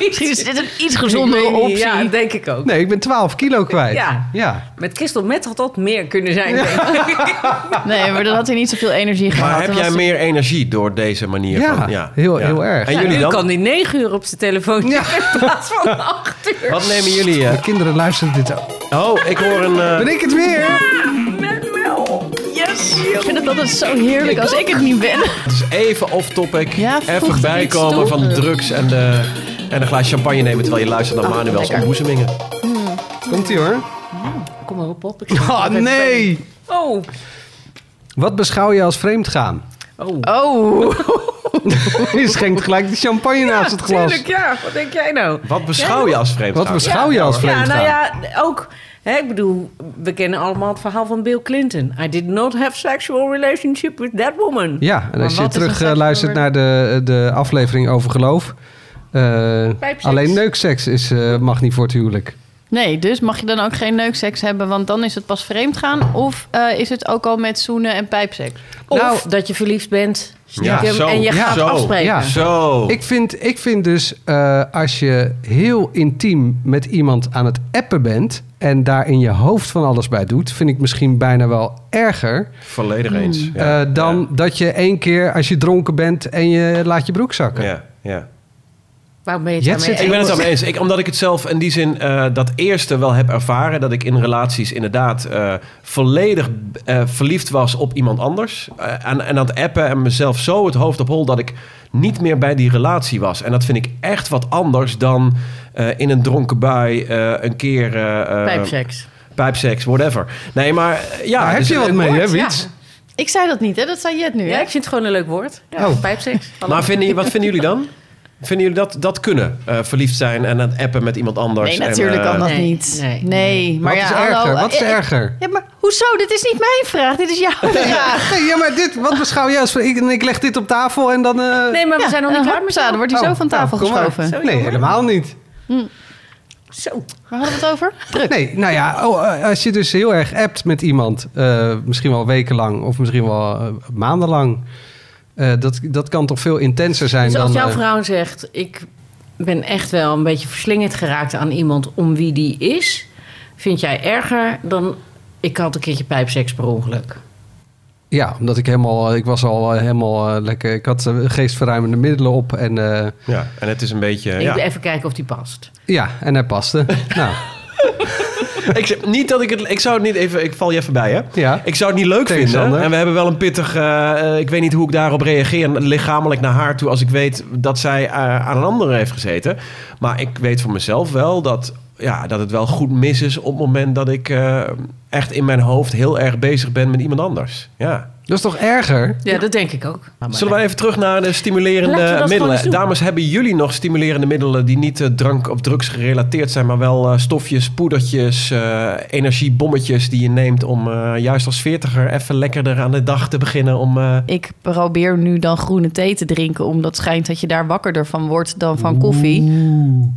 [SPEAKER 5] Misschien is dit een iets
[SPEAKER 7] Ik
[SPEAKER 5] gezondere
[SPEAKER 7] weet niet,
[SPEAKER 5] optie.
[SPEAKER 7] Ja, denk ik ook.
[SPEAKER 4] Nee, ik ben 12 kilo kwijt.
[SPEAKER 7] Ja.
[SPEAKER 4] ja.
[SPEAKER 7] Met crystal meth had dat meer kunnen zijn, denk ik.
[SPEAKER 5] Nee, maar dan had hij niet zoveel energie gehad.
[SPEAKER 6] Maar heb
[SPEAKER 5] Dan
[SPEAKER 6] jij
[SPEAKER 5] was-
[SPEAKER 6] meer energie door deze manier
[SPEAKER 4] Ja,
[SPEAKER 6] van...
[SPEAKER 4] heel- heel erg.
[SPEAKER 6] En
[SPEAKER 7] Ja,
[SPEAKER 6] jullie
[SPEAKER 7] nu
[SPEAKER 6] dan?
[SPEAKER 7] kan die negen uur op zijn telefoon
[SPEAKER 4] Ja.
[SPEAKER 7] in plaats van acht uur.
[SPEAKER 6] Wat nemen jullie... eh?
[SPEAKER 4] De kinderen luisteren dit ook.
[SPEAKER 6] Oh, ik hoor een... eh,
[SPEAKER 4] Ben ik het weer?
[SPEAKER 5] Ik vind het altijd zo heerlijk als ik het niet ben.
[SPEAKER 6] Het is even off-topic.
[SPEAKER 5] Ja, voegt er
[SPEAKER 6] even
[SPEAKER 5] iets
[SPEAKER 6] bijkomen
[SPEAKER 5] toe?
[SPEAKER 6] van drugs en, de, en een glaasje champagne nemen... terwijl je luistert naar Manuel's
[SPEAKER 5] Oh, lekker.
[SPEAKER 6] ontboezemingen.
[SPEAKER 4] Komt ie hoor.
[SPEAKER 7] Kom maar op, op. Ik
[SPEAKER 4] Oh nee!
[SPEAKER 7] Oh.
[SPEAKER 4] Wat beschouw je als vreemdgaan?
[SPEAKER 7] Oh.
[SPEAKER 5] Oh,
[SPEAKER 4] Je schenkt gelijk de champagne naast het glas.
[SPEAKER 7] Tuurlijk, ja. Wat denk jij nou?
[SPEAKER 6] Wat beschouw je als vreemd?
[SPEAKER 4] Wat beschouw je als
[SPEAKER 7] Ja,
[SPEAKER 4] vreemdgaan?
[SPEAKER 7] nou ja, ook... Hè, ik bedoel, we kennen allemaal het verhaal van Bill Clinton. I did not have sexual relationship with that woman.
[SPEAKER 4] Ja, en als je
[SPEAKER 7] wat is een
[SPEAKER 4] terug eh,
[SPEAKER 7] seksueel
[SPEAKER 4] luistert naar de, de aflevering over geloof. eh,
[SPEAKER 7] Pijpseks.
[SPEAKER 4] alleen neukseks is, eh, mag niet voor het huwelijk.
[SPEAKER 5] nee, dus mag je dan ook geen neukseks hebben, want dan is het pas vreemd gaan? Of eh, is het ook al met zoenen en pijpseks?
[SPEAKER 7] Of
[SPEAKER 4] Nou,
[SPEAKER 7] dat je verliefd bent sneak
[SPEAKER 6] Ja,
[SPEAKER 7] hem,
[SPEAKER 6] zo,
[SPEAKER 7] en je
[SPEAKER 4] Ah, ja,
[SPEAKER 7] gaat
[SPEAKER 6] zo,
[SPEAKER 7] afspreken.
[SPEAKER 4] ja.
[SPEAKER 6] Zo.
[SPEAKER 4] Ik vind, ik vind dus eh, als je heel intiem met iemand aan het appen bent. en daar in je hoofd van alles bij doet. vind ik misschien bijna wel erger.
[SPEAKER 6] Volledig eens. Ja.
[SPEAKER 4] eh, dan dat je één keer als je dronken bent. en je laat je broek
[SPEAKER 6] Ja.
[SPEAKER 4] zakken.
[SPEAKER 6] Ja. ja.
[SPEAKER 7] Waarom ben je het
[SPEAKER 4] Jet
[SPEAKER 7] daarmee
[SPEAKER 4] zit-
[SPEAKER 6] Ik ben het
[SPEAKER 7] eens?
[SPEAKER 6] daarmee eens. Ik, omdat ik het zelf in die zin eh, dat eerste wel heb ervaren. Dat ik in relaties inderdaad eh, volledig eh, verliefd was op iemand anders. Eh, en, en aan het appen en mezelf zo het hoofd op hol dat ik niet meer bij die relatie was. En dat vind ik echt wat anders dan eh, in een dronken bui eh, een keer... eh, eh,
[SPEAKER 7] Pijpseks.
[SPEAKER 6] Pijpseks, whatever. Nee, maar eh, ja.
[SPEAKER 4] Daar Nou, heb
[SPEAKER 6] dus
[SPEAKER 4] je wat
[SPEAKER 6] het-
[SPEAKER 4] mee, hè,
[SPEAKER 7] ja.
[SPEAKER 4] Wiets?
[SPEAKER 5] Ik zei dat niet, hè? Dat zei Jet nu,
[SPEAKER 7] Ja,
[SPEAKER 5] hè?
[SPEAKER 7] ik vind het gewoon een leuk woord. Ja,
[SPEAKER 4] Eh. Oh.
[SPEAKER 7] Pijpseks.
[SPEAKER 6] Maar vinden, jullie- wat vinden jullie dan? Vinden jullie dat, dat kunnen? Eh, verliefd zijn en aan het appen met iemand anders.
[SPEAKER 5] Nee,
[SPEAKER 6] en,
[SPEAKER 5] natuurlijk
[SPEAKER 6] eh,
[SPEAKER 5] kan dat
[SPEAKER 7] Nee,
[SPEAKER 5] niet.
[SPEAKER 7] nee,
[SPEAKER 5] Nee,
[SPEAKER 4] Wat
[SPEAKER 5] maar ja,
[SPEAKER 4] is erger?
[SPEAKER 5] hallo.
[SPEAKER 4] Wat is
[SPEAKER 5] eh,
[SPEAKER 4] erger?
[SPEAKER 5] Ja, maar hoezo? Dit is niet mijn vraag, dit is jouw vraag.
[SPEAKER 4] Nee, ja, maar dit, wat beschouw jij als... Ik, en ik leg dit op tafel en dan... eh,
[SPEAKER 7] Nee, maar we
[SPEAKER 5] Ja,
[SPEAKER 7] zijn nog niet
[SPEAKER 5] en
[SPEAKER 7] klaar met
[SPEAKER 5] hopsa, Dan
[SPEAKER 7] jou.
[SPEAKER 5] wordt hij
[SPEAKER 4] oh,
[SPEAKER 5] zo van
[SPEAKER 4] nou,
[SPEAKER 5] tafel
[SPEAKER 4] kom maar.
[SPEAKER 5] geschoven. Waar
[SPEAKER 4] Nee, helemaal niet.
[SPEAKER 7] Oh, Zo.
[SPEAKER 5] hadden we het over? Druk.
[SPEAKER 4] Nee, nou ja, oh, eh, als je dus heel erg appt met iemand... eh, misschien wel wekenlang of misschien wel eh, maandenlang... eh, dat, dat kan toch veel intenser zijn
[SPEAKER 7] Dus
[SPEAKER 4] dan...
[SPEAKER 7] als jouw
[SPEAKER 4] eh,
[SPEAKER 7] vrouw zegt, ik ben echt wel een beetje verslingerd geraakt aan iemand om wie die is, vind jij erger dan ik had een keertje pijpseks per ongeluk?
[SPEAKER 4] ja, omdat ik helemaal... eh, Ik was al eh, helemaal eh, lekker... Ik had eh, geestverruimende middelen op en... eh,
[SPEAKER 6] Ja, en het is een beetje...
[SPEAKER 7] Ik
[SPEAKER 6] ja.
[SPEAKER 7] wil even kijken of die past.
[SPEAKER 4] ja, en hij paste. nou,
[SPEAKER 6] ik, zeg niet dat ik het... Ik zou het niet even... Ik val je even bij, hè?
[SPEAKER 4] ja.
[SPEAKER 6] Ik zou het niet leuk
[SPEAKER 4] Thanks,
[SPEAKER 6] vinden.
[SPEAKER 4] Sander.
[SPEAKER 6] En we hebben wel een pittig... eh, eh, ik weet niet hoe ik daarop reageer lichamelijk naar haar toe... als ik weet dat zij eh, aan een andere heeft gezeten. Maar ik weet van mezelf wel dat... Ja, dat het wel goed mis is op het moment dat ik eh, echt in mijn hoofd heel erg bezig ben met iemand anders. Ja.
[SPEAKER 4] Dat is toch erger?
[SPEAKER 7] Ja, dat denk ik ook.
[SPEAKER 6] Zullen we even terug naar de
[SPEAKER 7] Laten we dat
[SPEAKER 6] stimulerende
[SPEAKER 7] gewoon eens
[SPEAKER 6] middelen?
[SPEAKER 7] doen.
[SPEAKER 6] Dames, hebben jullie nog stimulerende middelen die niet eh, drank of drugs gerelateerd zijn, maar wel eh, stofjes, poedertjes, eh, energiebommetjes die je neemt om eh, juist als veertiger even lekkerder aan de dag te beginnen? Om, eh,
[SPEAKER 5] Ik probeer nu dan groene thee te drinken, omdat schijnt dat je daar wakkerder van wordt dan van koffie.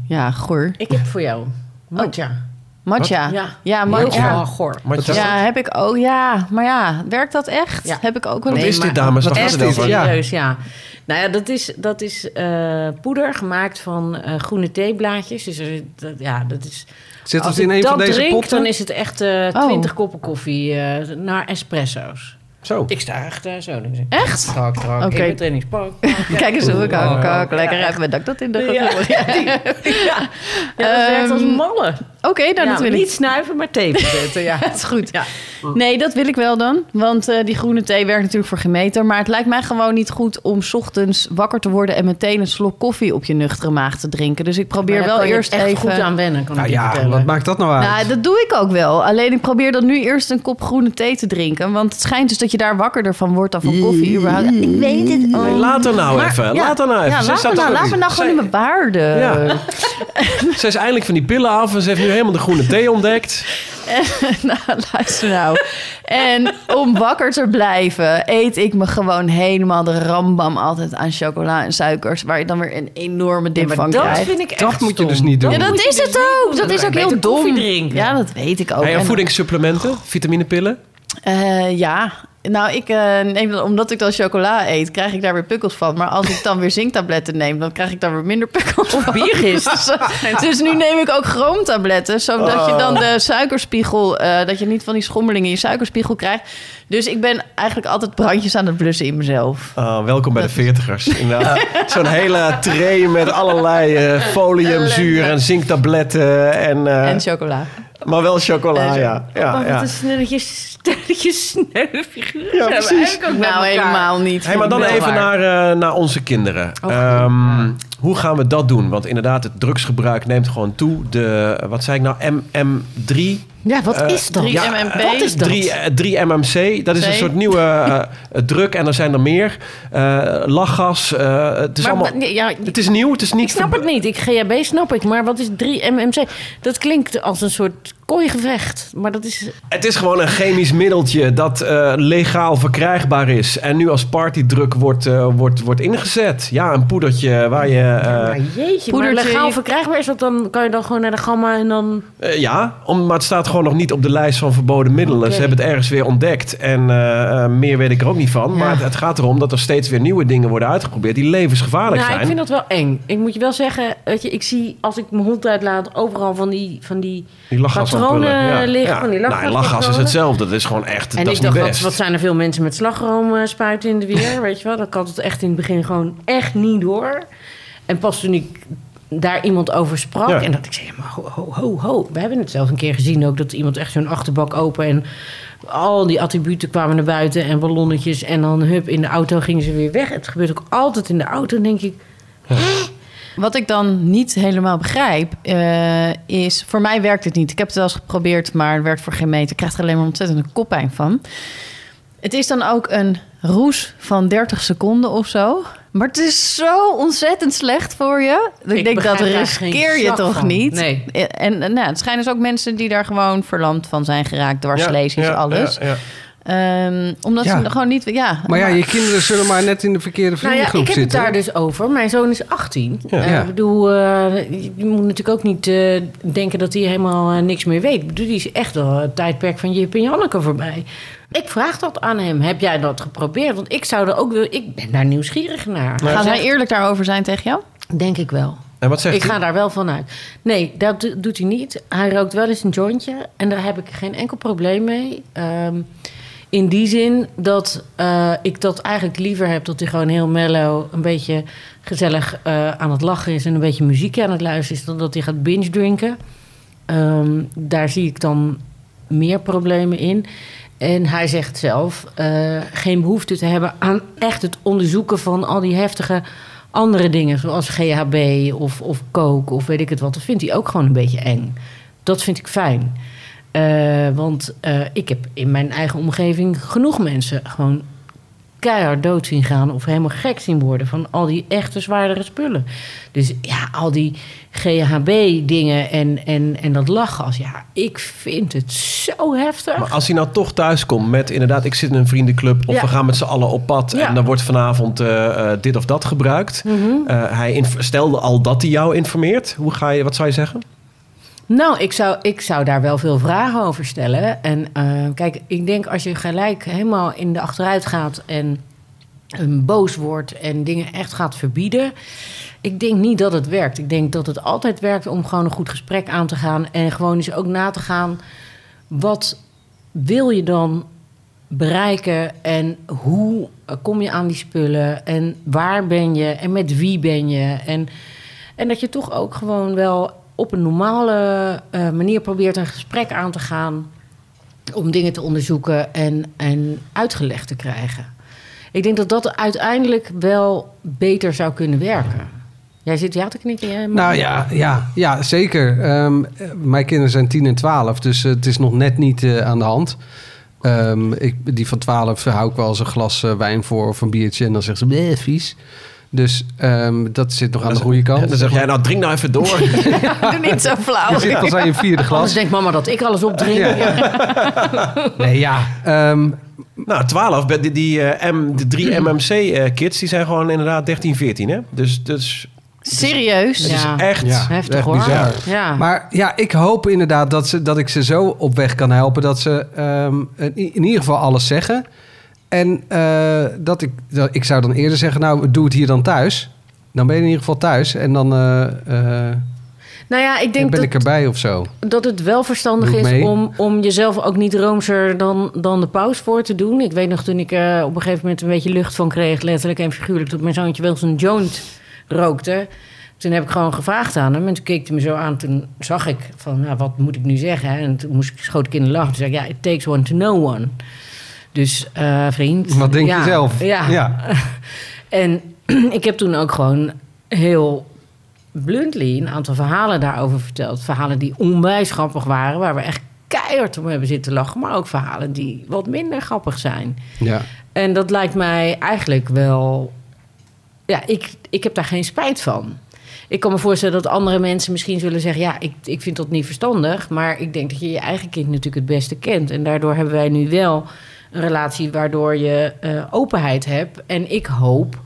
[SPEAKER 5] Ja, goor.
[SPEAKER 7] Ik heb voor jou matcha.
[SPEAKER 5] Matcha.
[SPEAKER 7] Oh. Ja.
[SPEAKER 5] Ja, matcha.
[SPEAKER 7] Ja,
[SPEAKER 5] Ja.
[SPEAKER 7] goor.
[SPEAKER 6] Maar
[SPEAKER 4] Wat is
[SPEAKER 6] ja.
[SPEAKER 5] heb ik ook. Ja, maar ja, werkt dat echt?
[SPEAKER 7] Ja.
[SPEAKER 5] Heb ik ook wel
[SPEAKER 6] Wat
[SPEAKER 5] eens.
[SPEAKER 6] is dit, dames? Waar
[SPEAKER 7] Wat
[SPEAKER 6] gaat
[SPEAKER 7] echt
[SPEAKER 6] het over?
[SPEAKER 4] Ja.
[SPEAKER 7] serieus, ja. Nou ja, dat is, dat is eh, poeder gemaakt van eh, groene theeblaadjes. Dus er, dat, ja, dat is...
[SPEAKER 4] Zit
[SPEAKER 7] als
[SPEAKER 4] het in
[SPEAKER 7] ik
[SPEAKER 4] een
[SPEAKER 7] dat
[SPEAKER 4] van deze
[SPEAKER 7] drink,
[SPEAKER 4] potten?
[SPEAKER 7] dan is het echt eh
[SPEAKER 5] Oh.
[SPEAKER 7] 20 koppen koffie eh, naar espresso's.
[SPEAKER 6] Zo.
[SPEAKER 7] Ik sta echt eh, zo. Dus.
[SPEAKER 5] Echt?
[SPEAKER 7] Trak, trak,
[SPEAKER 5] Oké.
[SPEAKER 7] in mijn trainingspak. pak,
[SPEAKER 5] Kijk eens hoe ik
[SPEAKER 7] Ja.
[SPEAKER 5] ook,
[SPEAKER 6] Oh.
[SPEAKER 5] ook lekker heb met dat ik dat in de
[SPEAKER 7] Ja.
[SPEAKER 5] ja.
[SPEAKER 7] Ja, ja dat werkt als
[SPEAKER 5] Ehm,
[SPEAKER 7] malle.
[SPEAKER 5] Oké, dan
[SPEAKER 7] Ja,
[SPEAKER 5] natuurlijk.
[SPEAKER 7] Niet snuiven, maar thee zetten. Ja.
[SPEAKER 5] Dat is goed.
[SPEAKER 7] Ja.
[SPEAKER 5] Nee, dat wil ik wel dan. Want eh, die groene thee werkt natuurlijk voor geen meter. Maar het lijkt mij gewoon niet goed om 's ochtends wakker te worden... en meteen een slok koffie op je nuchtere maag te drinken. Dus ik probeer
[SPEAKER 7] Maar daar
[SPEAKER 5] wel
[SPEAKER 7] kan je
[SPEAKER 5] eerst
[SPEAKER 7] echt
[SPEAKER 5] even...
[SPEAKER 7] goed aan wennen, kan
[SPEAKER 4] Nou
[SPEAKER 7] ik je
[SPEAKER 4] ja,
[SPEAKER 7] vertellen.
[SPEAKER 4] wat maakt dat nou uit?
[SPEAKER 5] Nou, dat doe ik ook wel. Alleen ik probeer dan nu eerst een kop groene thee te drinken. Want het schijnt dus dat je daar wakkerder van wordt dan van koffie. Überhaupt. Ik weet het ook.
[SPEAKER 6] Nee, later nou even. later nou
[SPEAKER 5] Oh.
[SPEAKER 6] even.
[SPEAKER 5] Ja,
[SPEAKER 6] Ze
[SPEAKER 5] laat
[SPEAKER 6] staat
[SPEAKER 5] me nou,
[SPEAKER 6] toch-
[SPEAKER 5] laat nou- me nou gewoon
[SPEAKER 6] Zij-
[SPEAKER 5] in mijn baarden.
[SPEAKER 6] Ja. Ze is eindelijk van die pillen af en ze heeft nu helemaal de groene thee ontdekt.
[SPEAKER 5] nou, luister nou. En om wakker te blijven, eet ik me gewoon helemaal de rambam altijd aan chocola en suikers. Waar je dan weer een enorme dip van
[SPEAKER 7] dat
[SPEAKER 5] krijgt.
[SPEAKER 7] vind ik echt
[SPEAKER 4] dat moet je
[SPEAKER 7] stom.
[SPEAKER 4] dus niet doen.
[SPEAKER 5] Ja, dat is het ook. Dat is ook
[SPEAKER 7] Beter
[SPEAKER 5] heel
[SPEAKER 7] koffie
[SPEAKER 5] dom.
[SPEAKER 7] drinken.
[SPEAKER 5] Ja, dat weet ik ook.
[SPEAKER 6] Hey, en
[SPEAKER 5] Oh, En-
[SPEAKER 6] voedingssupplementen, vitaminepillen.
[SPEAKER 5] Eh, ja, nou, ik, eh, neem dan, omdat ik dan chocola eet, krijg ik daar weer pukkels van. Maar als ik dan weer zinktabletten neem, dan krijg ik daar weer minder pukkels van.
[SPEAKER 7] biergist.
[SPEAKER 5] Dus, eh, dus nu neem ik ook chroomtabletten, zodat je dan de suikerspiegel, eh, dat je niet van die schommelingen in je suikerspiegel krijgt. Dus ik ben eigenlijk altijd brandjes aan het blussen in mezelf.
[SPEAKER 6] Ah, welkom bij de veertigers. Inderdaad. Zo'n hele tray met allerlei eh, foliumzuur en zinktabletten. En, eh,
[SPEAKER 5] En chocola.
[SPEAKER 6] maar wel chocola,
[SPEAKER 5] en-
[SPEAKER 6] ja. ja,
[SPEAKER 7] Oh,
[SPEAKER 6] ja.
[SPEAKER 7] wat een stelletje, stelletje sneu figuren.
[SPEAKER 6] Ja,
[SPEAKER 7] hebben we
[SPEAKER 6] precies.
[SPEAKER 7] eigenlijk ook met
[SPEAKER 5] Nou,
[SPEAKER 7] elkaar.
[SPEAKER 5] helemaal niet.
[SPEAKER 6] Hey, maar dan
[SPEAKER 7] Wel
[SPEAKER 6] even
[SPEAKER 7] waar. Oh,
[SPEAKER 6] naar, eh, naar onze kinderen. Ehm, Hoe gaan we dat doen? Want inderdaad, het drugsgebruik neemt gewoon toe. De, wat zei ik nou, MM3?
[SPEAKER 7] Ja, wat
[SPEAKER 6] Eh,
[SPEAKER 7] is dat?
[SPEAKER 5] 3 MMP.
[SPEAKER 7] Wat is dat?
[SPEAKER 6] 3, MMC, dat is een
[SPEAKER 5] C.
[SPEAKER 6] soort nieuwe eh, druk en er zijn er meer. Eh, lachgas, eh, het is
[SPEAKER 7] Maar-
[SPEAKER 6] allemaal...
[SPEAKER 7] nee, ja,
[SPEAKER 6] Het is nieuw, het is niet...
[SPEAKER 7] ik snap het niet. Ik GHB snap ik, maar wat is 3 MMC? Dat klinkt als een soort kooigevecht, maar dat is
[SPEAKER 6] Het is gewoon een chemisch middeltje dat eh, legaal verkrijgbaar is. En nu als partydruk wordt, eh, wordt, wordt ingezet. Ja, een poedertje waar je... eh,
[SPEAKER 7] maar jeetje, maar
[SPEAKER 5] poedertje-
[SPEAKER 7] legaal verkrijgbaar is dat dan kan je dan gewoon naar de gamma en dan
[SPEAKER 6] eh, ja, om, maar het staat gewoon nog niet op de lijst van verboden middelen.
[SPEAKER 7] Oké.
[SPEAKER 6] Ze hebben het ergens weer ontdekt. En eh, eh, meer weet ik er ook niet van. Maar het, het gaat erom dat er steeds weer nieuwe dingen worden uitgeprobeerd... die levensgevaarlijk
[SPEAKER 7] nou,
[SPEAKER 6] zijn.
[SPEAKER 7] ik vind dat wel eng. Ik moet je wel zeggen, weet je, ik zie als ik mijn hond uitlaat overal van die van die
[SPEAKER 6] Die lachgasampullen.
[SPEAKER 7] Patronen liggen van die
[SPEAKER 6] Nou, lachgas is
[SPEAKER 7] lachgaspatronen.
[SPEAKER 6] hetzelfde. Dat is gewoon echt,
[SPEAKER 7] En
[SPEAKER 6] dat
[SPEAKER 7] ik
[SPEAKER 6] is niet
[SPEAKER 7] dacht, wat,
[SPEAKER 6] best.
[SPEAKER 7] wat zijn er veel mensen met slagroom eh, spuiten in de weer, weet je wel? Dat had het echt in het begin gewoon echt niet door. En pas toen ik daar iemand over sprak
[SPEAKER 6] Ja.
[SPEAKER 7] en dat ik zei, ja, maar ho, ho, ho, ho. We hebben het zelf een keer gezien ook, dat iemand echt zo'n achterbak open en al die attributen kwamen naar buiten en ballonnetjes en dan hup, in de auto gingen ze weer weg. Het gebeurt ook altijd in de auto, denk ik.
[SPEAKER 5] Wat ik dan niet helemaal begrijp, eh, is... Voor mij werkt het niet. Ik heb het wel eens geprobeerd, maar het werkt voor geen meter. Ik krijg er alleen maar ontzettend een koppijn van. Het is dan ook een roes van 30 seconden of zo. Maar het is zo ontzettend slecht voor je. Ik,
[SPEAKER 7] Ik
[SPEAKER 5] denk, dat
[SPEAKER 7] begrijp daar geen
[SPEAKER 5] riskeer je
[SPEAKER 7] slag
[SPEAKER 5] toch
[SPEAKER 7] van.
[SPEAKER 5] niet?
[SPEAKER 7] Nee.
[SPEAKER 5] En, en nou, het schijnen dus ook mensen die daar gewoon verlamd van zijn geraakt. Dwarslesies,
[SPEAKER 6] Ja, ja,
[SPEAKER 5] alles.
[SPEAKER 6] ja, ja.
[SPEAKER 5] Ehm, omdat
[SPEAKER 4] Ja.
[SPEAKER 5] ze gewoon niet... Ja,
[SPEAKER 4] Maar ja, je kinderen zullen maar net in de verkeerde
[SPEAKER 7] Nou ja, ik
[SPEAKER 4] vriendengroep
[SPEAKER 7] heb het
[SPEAKER 4] zitten.
[SPEAKER 7] daar dus over. Mijn zoon is 18.
[SPEAKER 6] Ja.
[SPEAKER 7] Eh,
[SPEAKER 4] Ja.
[SPEAKER 7] ik bedoel, eh, je je moet natuurlijk ook niet eh, denken dat hij helemaal eh, niks meer weet. Ik bedoel, die is echt al het tijdperk van Jip en Janneke voorbij. Ik vraag dat aan hem. Heb jij dat geprobeerd? Want ik zou er ook wil. Ik ben daar nieuwsgierig naar.
[SPEAKER 5] Gaan
[SPEAKER 7] Hij
[SPEAKER 5] zij
[SPEAKER 7] zegt,
[SPEAKER 5] eerlijk daarover zijn tegen jou?
[SPEAKER 7] Denk ik wel.
[SPEAKER 6] En wat zegt
[SPEAKER 7] Ik
[SPEAKER 6] hij?
[SPEAKER 7] ga daar wel van uit. Nee, dat do- doet hij niet. Hij rookt wel eens een jointje. En daar heb ik geen enkel probleem mee. Ehm, in die zin dat eh, ik dat eigenlijk liever heb... dat hij gewoon heel mellow, een beetje gezellig eh, aan het lachen is... en een beetje muziek aan het luisteren is... dan dat hij gaat binge drinken. Ehm, daar zie ik dan meer problemen in. En hij zegt zelf eh, geen behoefte te hebben aan echt het onderzoeken van al die heftige andere dingen, zoals GHB of, of coke of weet ik het wat. Dat vindt hij ook gewoon een beetje eng. Dat vind ik fijn. Eh, want eh, ik heb in mijn eigen omgeving genoeg mensen gewoon keihard dood zien gaan of helemaal gek zien worden van al die echte zwaardere spullen. Dus ja, al die GHB-dingen en, en, en dat lachgas. Ja, ik vind het zo heftig.
[SPEAKER 6] Maar als hij nou toch thuis komt met inderdaad, ik zit in een vriendenclub of
[SPEAKER 7] Ja.
[SPEAKER 6] we gaan met z'n allen op pad
[SPEAKER 7] Ja. Mhm.
[SPEAKER 6] en dan wordt vanavond eh, eh, dit of dat gebruikt. Eh, hij inf- stelde al dat hij jou informeert. Hoe ga je, wat zou je zeggen?
[SPEAKER 7] Nou, ik zou, ik zou daar wel veel vragen over stellen. En eh, kijk, ik denk als je gelijk helemaal in de achteruit gaat en een boos wordt en dingen echt gaat verbieden. Ik denk niet dat het werkt. Ik denk dat het altijd werkt om gewoon een goed gesprek aan te gaan. En gewoon eens ook na te gaan. Wat wil je dan bereiken? En hoe eh, kom je aan die spullen? En waar ben je? En met wie ben je? En, en dat je toch ook gewoon wel op een normale eh, manier probeert een gesprek aan te gaan. Om dingen te onderzoeken en, en uitgelegd te krijgen. Ik denk dat dat uiteindelijk wel beter zou kunnen werken. Jij zit ja te knikken, hè?
[SPEAKER 4] Nou ja, ja, ja zeker. Ehm, eh, mijn kinderen zijn 10 en 12, dus eh, het is nog net niet eh, aan de hand. Ehm, ik, die van 12 hou ik wel eens een glas eh, wijn voor of een biertje en dan zegt ze, "Bleh, vies. Dus ehm, dat zit nog aan de goede kant.
[SPEAKER 6] En dan zeg jij, nou drink nou even door.
[SPEAKER 9] Doe niet zo flauw.
[SPEAKER 4] Je zit pas aan je vierde
[SPEAKER 7] Anders
[SPEAKER 4] glas.
[SPEAKER 7] denkt mama dat ik alles opdrink.
[SPEAKER 4] Ja. Nee, ja. ehm,
[SPEAKER 6] nou, 12, bij die, die, eh, M, de
[SPEAKER 7] Mhm.
[SPEAKER 6] drie MMC-kids, die zijn gewoon inderdaad 13, 14. Hè? Dus, dus
[SPEAKER 5] Serieus?
[SPEAKER 6] het
[SPEAKER 7] Ja.
[SPEAKER 6] is echt...
[SPEAKER 4] ja,
[SPEAKER 7] Heftig,
[SPEAKER 4] echt
[SPEAKER 7] hoor.
[SPEAKER 4] bizar.
[SPEAKER 7] Ja.
[SPEAKER 4] Maar ja, ik hoop inderdaad dat, ze, dat ik ze zo op weg kan helpen dat ze ehm, in, in ieder geval alles zeggen. En eh, dat ik, dat, ik zou dan eerder zeggen, nou, doe het hier dan thuis. Dan ben je in ieder geval thuis en dan eh, eh,
[SPEAKER 7] Nou ja, ik
[SPEAKER 4] ben
[SPEAKER 7] denk
[SPEAKER 4] ik
[SPEAKER 7] dat,
[SPEAKER 4] erbij of zo.
[SPEAKER 7] dat het wel verstandig
[SPEAKER 4] Doe ik
[SPEAKER 7] is
[SPEAKER 4] mee.
[SPEAKER 7] om, om jezelf ook niet roomser dan, dan de paus voor te doen. Ik weet nog toen ik eh, op een gegeven moment een beetje lucht van kreeg, letterlijk en figuurlijk, toen mijn zoontje Wilson Jones rookte. Toen heb ik gewoon gevraagd aan hem en toen keek hij me zo aan. Toen zag ik van, nou, wat moet ik nu zeggen? hè? En toen moest ik schoot ik in de lach. Toen zei ik, ja, it takes one to know one. Dus eh, vriend.
[SPEAKER 4] Wat denk
[SPEAKER 7] ja,
[SPEAKER 4] je zelf?
[SPEAKER 7] Ja. En ik heb toen ook gewoon heel bluntly een aantal verhalen daarover verteld. Verhalen die onwijs grappig waren, waar we echt keihard om hebben zitten lachen. Maar ook verhalen die wat minder grappig zijn.
[SPEAKER 4] Ja.
[SPEAKER 7] En dat lijkt mij eigenlijk wel. Ja, ik, ik heb daar geen spijt van. Ik kan me voorstellen dat andere mensen misschien zullen zeggen: Ja, ik, ik vind dat niet verstandig. Maar ik denk dat je je eigen kind natuurlijk het beste kent. En daardoor hebben wij nu wel een relatie waardoor je eh, openheid hebt. En ik hoop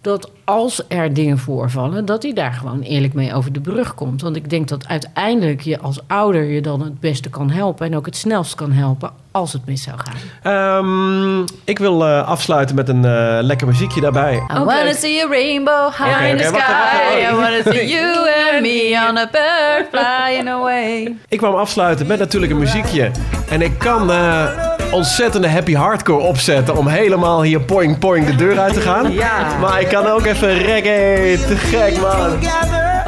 [SPEAKER 7] dat als er dingen voorvallen, dat hij daar gewoon eerlijk mee over de brug komt. Want ik denk dat uiteindelijk je als ouder je dan het beste kan helpen. En ook het snelst kan helpen als het mis zou gaan.
[SPEAKER 6] Oh, Ehm, ik wil eh, afsluiten met een eh, lekker muziekje daarbij.
[SPEAKER 9] I
[SPEAKER 5] Oh,
[SPEAKER 9] wanna
[SPEAKER 5] dus
[SPEAKER 9] see a rainbow high
[SPEAKER 6] Oké,
[SPEAKER 9] in the
[SPEAKER 6] oké,
[SPEAKER 9] sky.
[SPEAKER 6] wacht even, wacht even.
[SPEAKER 9] I wanna see you and me on a bird flying away.
[SPEAKER 6] Ik wou hem afsluiten met natuurlijk een muziekje. En ik kan eh, ontzettende happy hardcore opzetten om helemaal hier poing poing de deur uit te gaan.
[SPEAKER 7] Ja.
[SPEAKER 6] Maar ik kan ook even reggae, te gek man.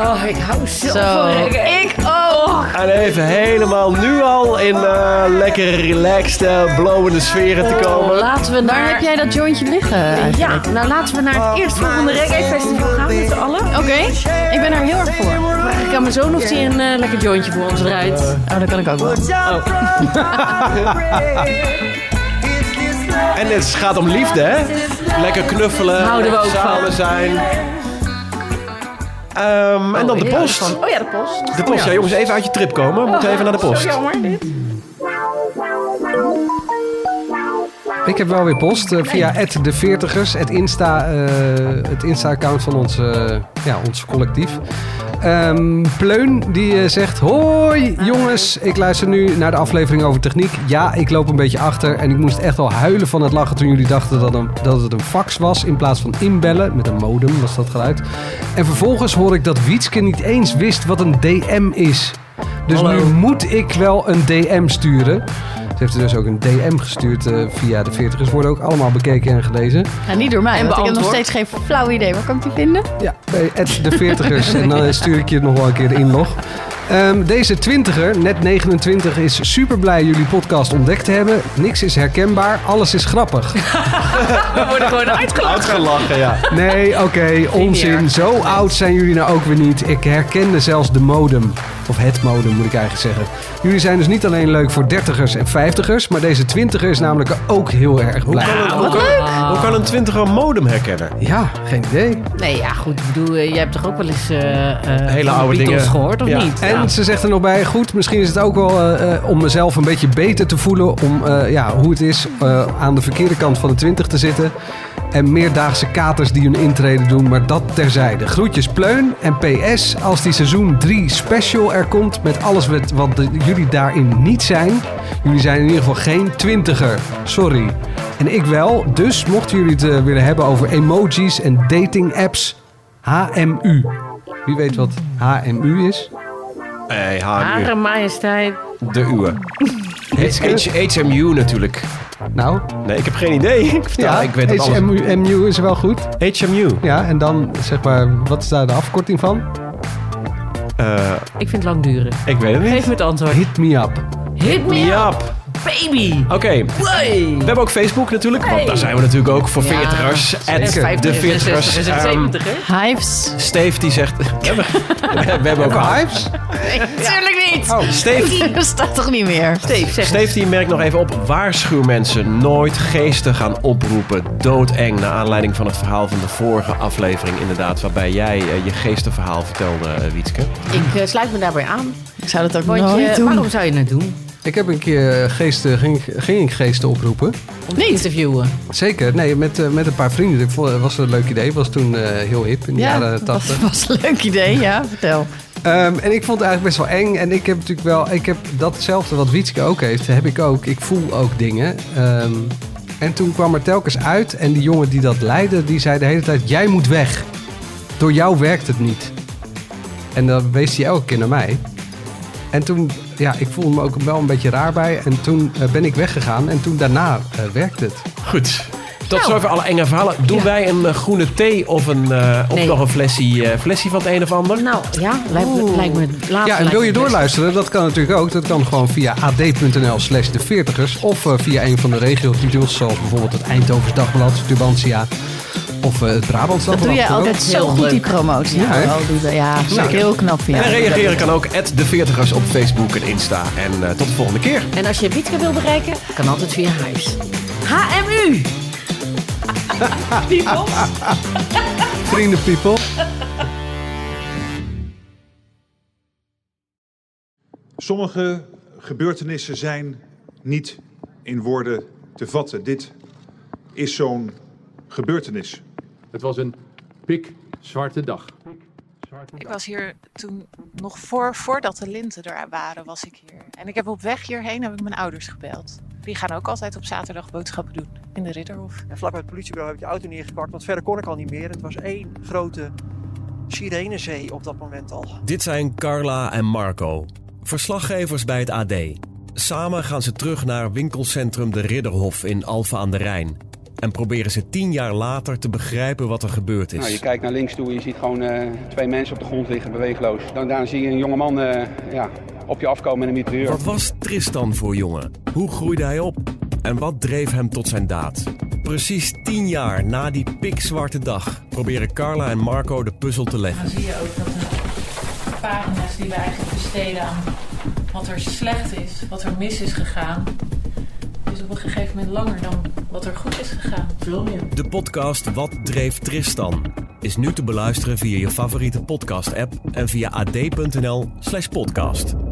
[SPEAKER 7] Oh, ik hou zo,
[SPEAKER 9] Zo.
[SPEAKER 7] van reggae.
[SPEAKER 9] Ik ook.
[SPEAKER 6] En even helemaal nu al in eh, lekker relaxed, eh, blowende sferen te komen.
[SPEAKER 7] Eh, Laten we
[SPEAKER 5] Waar
[SPEAKER 7] naar...
[SPEAKER 5] heb jij dat jointje liggen? Oh,
[SPEAKER 7] Ja, nou laten we naar het eerstvolgende reggae festival gaan met z'n allen.
[SPEAKER 5] Oké, ik ben daar heel erg voor.
[SPEAKER 7] Ik aan mijn zoon of hij een eh, lekker jointje voor ons draait.
[SPEAKER 5] Oh, dat kan ik ook wel.
[SPEAKER 6] En het gaat om liefde, hè? Lekker knuffelen,
[SPEAKER 7] Houden we ook
[SPEAKER 6] samen
[SPEAKER 7] van.
[SPEAKER 6] zijn. Ehm, en dan de
[SPEAKER 7] heerlijk.
[SPEAKER 6] post.
[SPEAKER 7] Oh ja, de post. Oh.
[SPEAKER 6] De post, ja jongens, even uit je trip komen. We moeten even naar de post.
[SPEAKER 7] Jammer dit.
[SPEAKER 4] Ik heb wel weer post eh, via de 40ers, het Insta, eh, het Insta-account van ons, eh, ja, ons collectief. Ehm, Pleun die eh, zegt: Hoi jongens, ik luister nu naar de aflevering over techniek. Ja, ik loop een beetje achter en ik moest echt al huilen van het lachen toen jullie dachten dat, een, dat het een fax was in plaats van inbellen. Met een modem was dat geluid. En vervolgens hoor ik dat Wietske niet eens wist wat een DM is. Dus nu moet ik wel een DM sturen. Ze heeft er dus ook een DM gestuurd eh, via de 40ers. Worden ook allemaal bekeken en gelezen.
[SPEAKER 5] Ja, niet door mij,
[SPEAKER 7] En
[SPEAKER 5] want ik heb nog
[SPEAKER 7] beantwoord.
[SPEAKER 5] steeds geen flauw idee. Waar kan ik die vinden?
[SPEAKER 4] Ja, bij at de 40ers. en dan stuur ik je nog wel een keer de inlog. Ehm, deze 20er, net 29, is super blij jullie podcast ontdekt te hebben. Niks is herkenbaar, alles is grappig.
[SPEAKER 7] We worden gewoon uitgelachen.
[SPEAKER 6] Uitgelachen, ja.
[SPEAKER 4] Nee, oké, onzin. Zo oud zijn jullie nou ook weer niet. Ik herkende zelfs de modem. Of het modem, moet ik eigenlijk zeggen. Jullie zijn dus niet alleen leuk voor 30ers en 50ers, maar deze 20er is namelijk ook heel erg blij.
[SPEAKER 6] Hoe kan, hoe kan een twintiger een modem herkennen?
[SPEAKER 4] Ja, geen idee.
[SPEAKER 7] Nee, ja goed, ik bedoel, eh, jij hebt toch ook wel eens eh, eh,
[SPEAKER 6] Hele
[SPEAKER 7] van de
[SPEAKER 6] oude
[SPEAKER 7] Beatles
[SPEAKER 6] dingen.
[SPEAKER 7] gehoord, of
[SPEAKER 6] Ja.
[SPEAKER 7] niet?
[SPEAKER 4] En En ze zegt er nog bij, goed, misschien is het ook wel eh, eh, om mezelf een beetje beter te voelen om eh, ja, hoe het is eh, aan de verkeerde kant van de 20 te zitten. En meerdaagse katers die hun intrede doen, maar dat terzijde. Groetjes Pleun en PS, als die seizoen 3 special er komt met alles wat, wat de- jullie daarin niet zijn. Jullie zijn in ieder geval geen twintiger, sorry. En ik wel, dus mochten jullie het eh, willen hebben over emojis en dating apps, HMU. Wie weet wat HMU is?
[SPEAKER 6] Hey,
[SPEAKER 7] Hare
[SPEAKER 6] HMU.
[SPEAKER 7] majesteit.
[SPEAKER 6] Eh, De uwe. H- HMU natuurlijk.
[SPEAKER 4] Nou,
[SPEAKER 6] Nee, ik heb geen idee. Ik vertel, ik weet het alles.
[SPEAKER 4] HMU MU is wel goed.
[SPEAKER 6] HMU.
[SPEAKER 4] Ja, en dan zeg maar, wat is daar de afkorting van?
[SPEAKER 6] Eh,
[SPEAKER 7] Ik vind het lang duren.
[SPEAKER 6] ik weet het
[SPEAKER 7] Geef
[SPEAKER 6] niet.
[SPEAKER 7] me het antwoord.
[SPEAKER 4] Hit me up.
[SPEAKER 7] Hit me up,
[SPEAKER 6] Jaap.
[SPEAKER 7] baby.
[SPEAKER 6] Oké, we hebben ook Facebook natuurlijk, want daar zijn we natuurlijk ook voor veertigers. En de veertigers.
[SPEAKER 7] Is het
[SPEAKER 6] Ehm,
[SPEAKER 7] 70 hè?
[SPEAKER 5] Hives.
[SPEAKER 6] Steve die zegt... we, hebben, we hebben ook
[SPEAKER 4] Ook
[SPEAKER 6] een
[SPEAKER 4] hypes?
[SPEAKER 5] Tuurlijk niet.
[SPEAKER 6] Steve,
[SPEAKER 5] Dat staat toch niet meer?
[SPEAKER 7] Steef, zeg
[SPEAKER 6] Steve die merkt nog even op. Waarschuw mensen nooit geesten gaan oproepen. Doodeng. Naar aanleiding van het verhaal van de vorige aflevering inderdaad. Waarbij jij eh, je geestenverhaal vertelde, eh, Wietske.
[SPEAKER 7] Ik eh, sluit me daarbij aan.
[SPEAKER 5] Ik zou dat ook
[SPEAKER 7] Want
[SPEAKER 5] nooit
[SPEAKER 7] je,
[SPEAKER 5] doen.
[SPEAKER 7] waarom zou je het doen?
[SPEAKER 4] Ik heb een keer geesten, ging, ik- ging ik geesten oproepen.
[SPEAKER 7] Om te interviewen.
[SPEAKER 4] Zeker, nee, met, eh, met een paar vrienden. Dat vond- was een leuk idee, was toen eh, heel hip in de jaren
[SPEAKER 5] dat
[SPEAKER 4] 80.
[SPEAKER 5] was een leuk idee. Ja, vertel.
[SPEAKER 4] Ehm, en ik vond het eigenlijk best wel eng. En ik heb natuurlijk wel, ik heb datzelfde wat Wietske ook heeft, heb ik ook. Ik voel ook dingen. Ehm, en toen kwam er telkens uit en die jongen die dat leidde, die zei de hele tijd, jij moet weg. Door jou werkt het niet. En dan wees hij elke keer naar mij. En toen, ja, ik voelde me ook wel een beetje raar bij. En toen eh, ben ik weggegaan en toen daarna eh, werkte het.
[SPEAKER 6] Goed.
[SPEAKER 7] Nou.
[SPEAKER 6] Tot zover alle enge verhalen. Doen wij een eh, groene thee of, een, eh, of
[SPEAKER 7] Nee.
[SPEAKER 6] nog een flesje, eh, flesje van het een of ander?
[SPEAKER 7] Nou ja, lijkt me, lijkt me later.
[SPEAKER 4] Ja, en wil je doorluisteren? Dat kan natuurlijk ook. Dat kan gewoon via ad.nl slash de veertigers. Of eh, via een van de regiotitels, zoals bijvoorbeeld het Eindhovens Dagblad, Tubantia. Of eh, het Brabants
[SPEAKER 5] Dat
[SPEAKER 4] Dagblad.
[SPEAKER 5] doe jij
[SPEAKER 4] ook.
[SPEAKER 5] altijd zo
[SPEAKER 7] Heel
[SPEAKER 5] goed,
[SPEAKER 7] leuk.
[SPEAKER 5] die promotie.
[SPEAKER 4] Ja,
[SPEAKER 5] Ja,
[SPEAKER 4] hè?
[SPEAKER 5] wel, doe dat. ja vind ik heel knap van jou.
[SPEAKER 6] En reageren kan ook at de veertigers op Facebook en Insta. En eh, tot de volgende keer.
[SPEAKER 7] En als je Wietke wil bereiken, kan altijd via huis. HMU!
[SPEAKER 4] Vrienden, people.
[SPEAKER 10] Sommige gebeurtenissen zijn niet in woorden te vatten. Dit is zo'n gebeurtenis.
[SPEAKER 11] Het was een pikzwarte dag.
[SPEAKER 12] Ik was hier toen, nog voor, voordat de linten er waren, was ik hier. En ik heb op weg hierheen heb ik mijn ouders gebeld. Die gaan ook altijd op zaterdag boodschappen doen in de Ridderhof.
[SPEAKER 1] En vlak bij het politiebureau heb ik de auto neergepakt, want verder kon ik al niet meer. Het was één grote sirenezee op dat moment al.
[SPEAKER 13] Dit zijn Carla en Marco, verslaggevers bij het AD. Samen gaan ze terug naar winkelcentrum De Ridderhof in Alphen aan de Rijn. En proberen ze tien jaar later te begrijpen wat er gebeurd
[SPEAKER 12] Nou,
[SPEAKER 13] is.
[SPEAKER 11] kijkt naar links toe, je ziet gewoon eh, twee mensen op de grond liggen, beweegloos. Dan, daarna zie je een jongeman ja, op je afkomen met een mitrailleur.
[SPEAKER 13] Wat was Tristan voor jongen? Hoe groeide hij op? En wat dreef hem tot zijn daad? Precies tien jaar na die pikzwarte dag proberen Carla en Marco de puzzel te leggen.
[SPEAKER 12] Dan zie je ook dat de pagina's die we eigenlijk besteden aan wat er slecht is, wat er mis is gegaan, is op een gegeven moment langer dan wat er goed is gegaan. Veel meer.
[SPEAKER 13] De podcast Wat dreef Tristan is nu te beluisteren via je favoriete podcast-app en via ad.nl/slash podcast.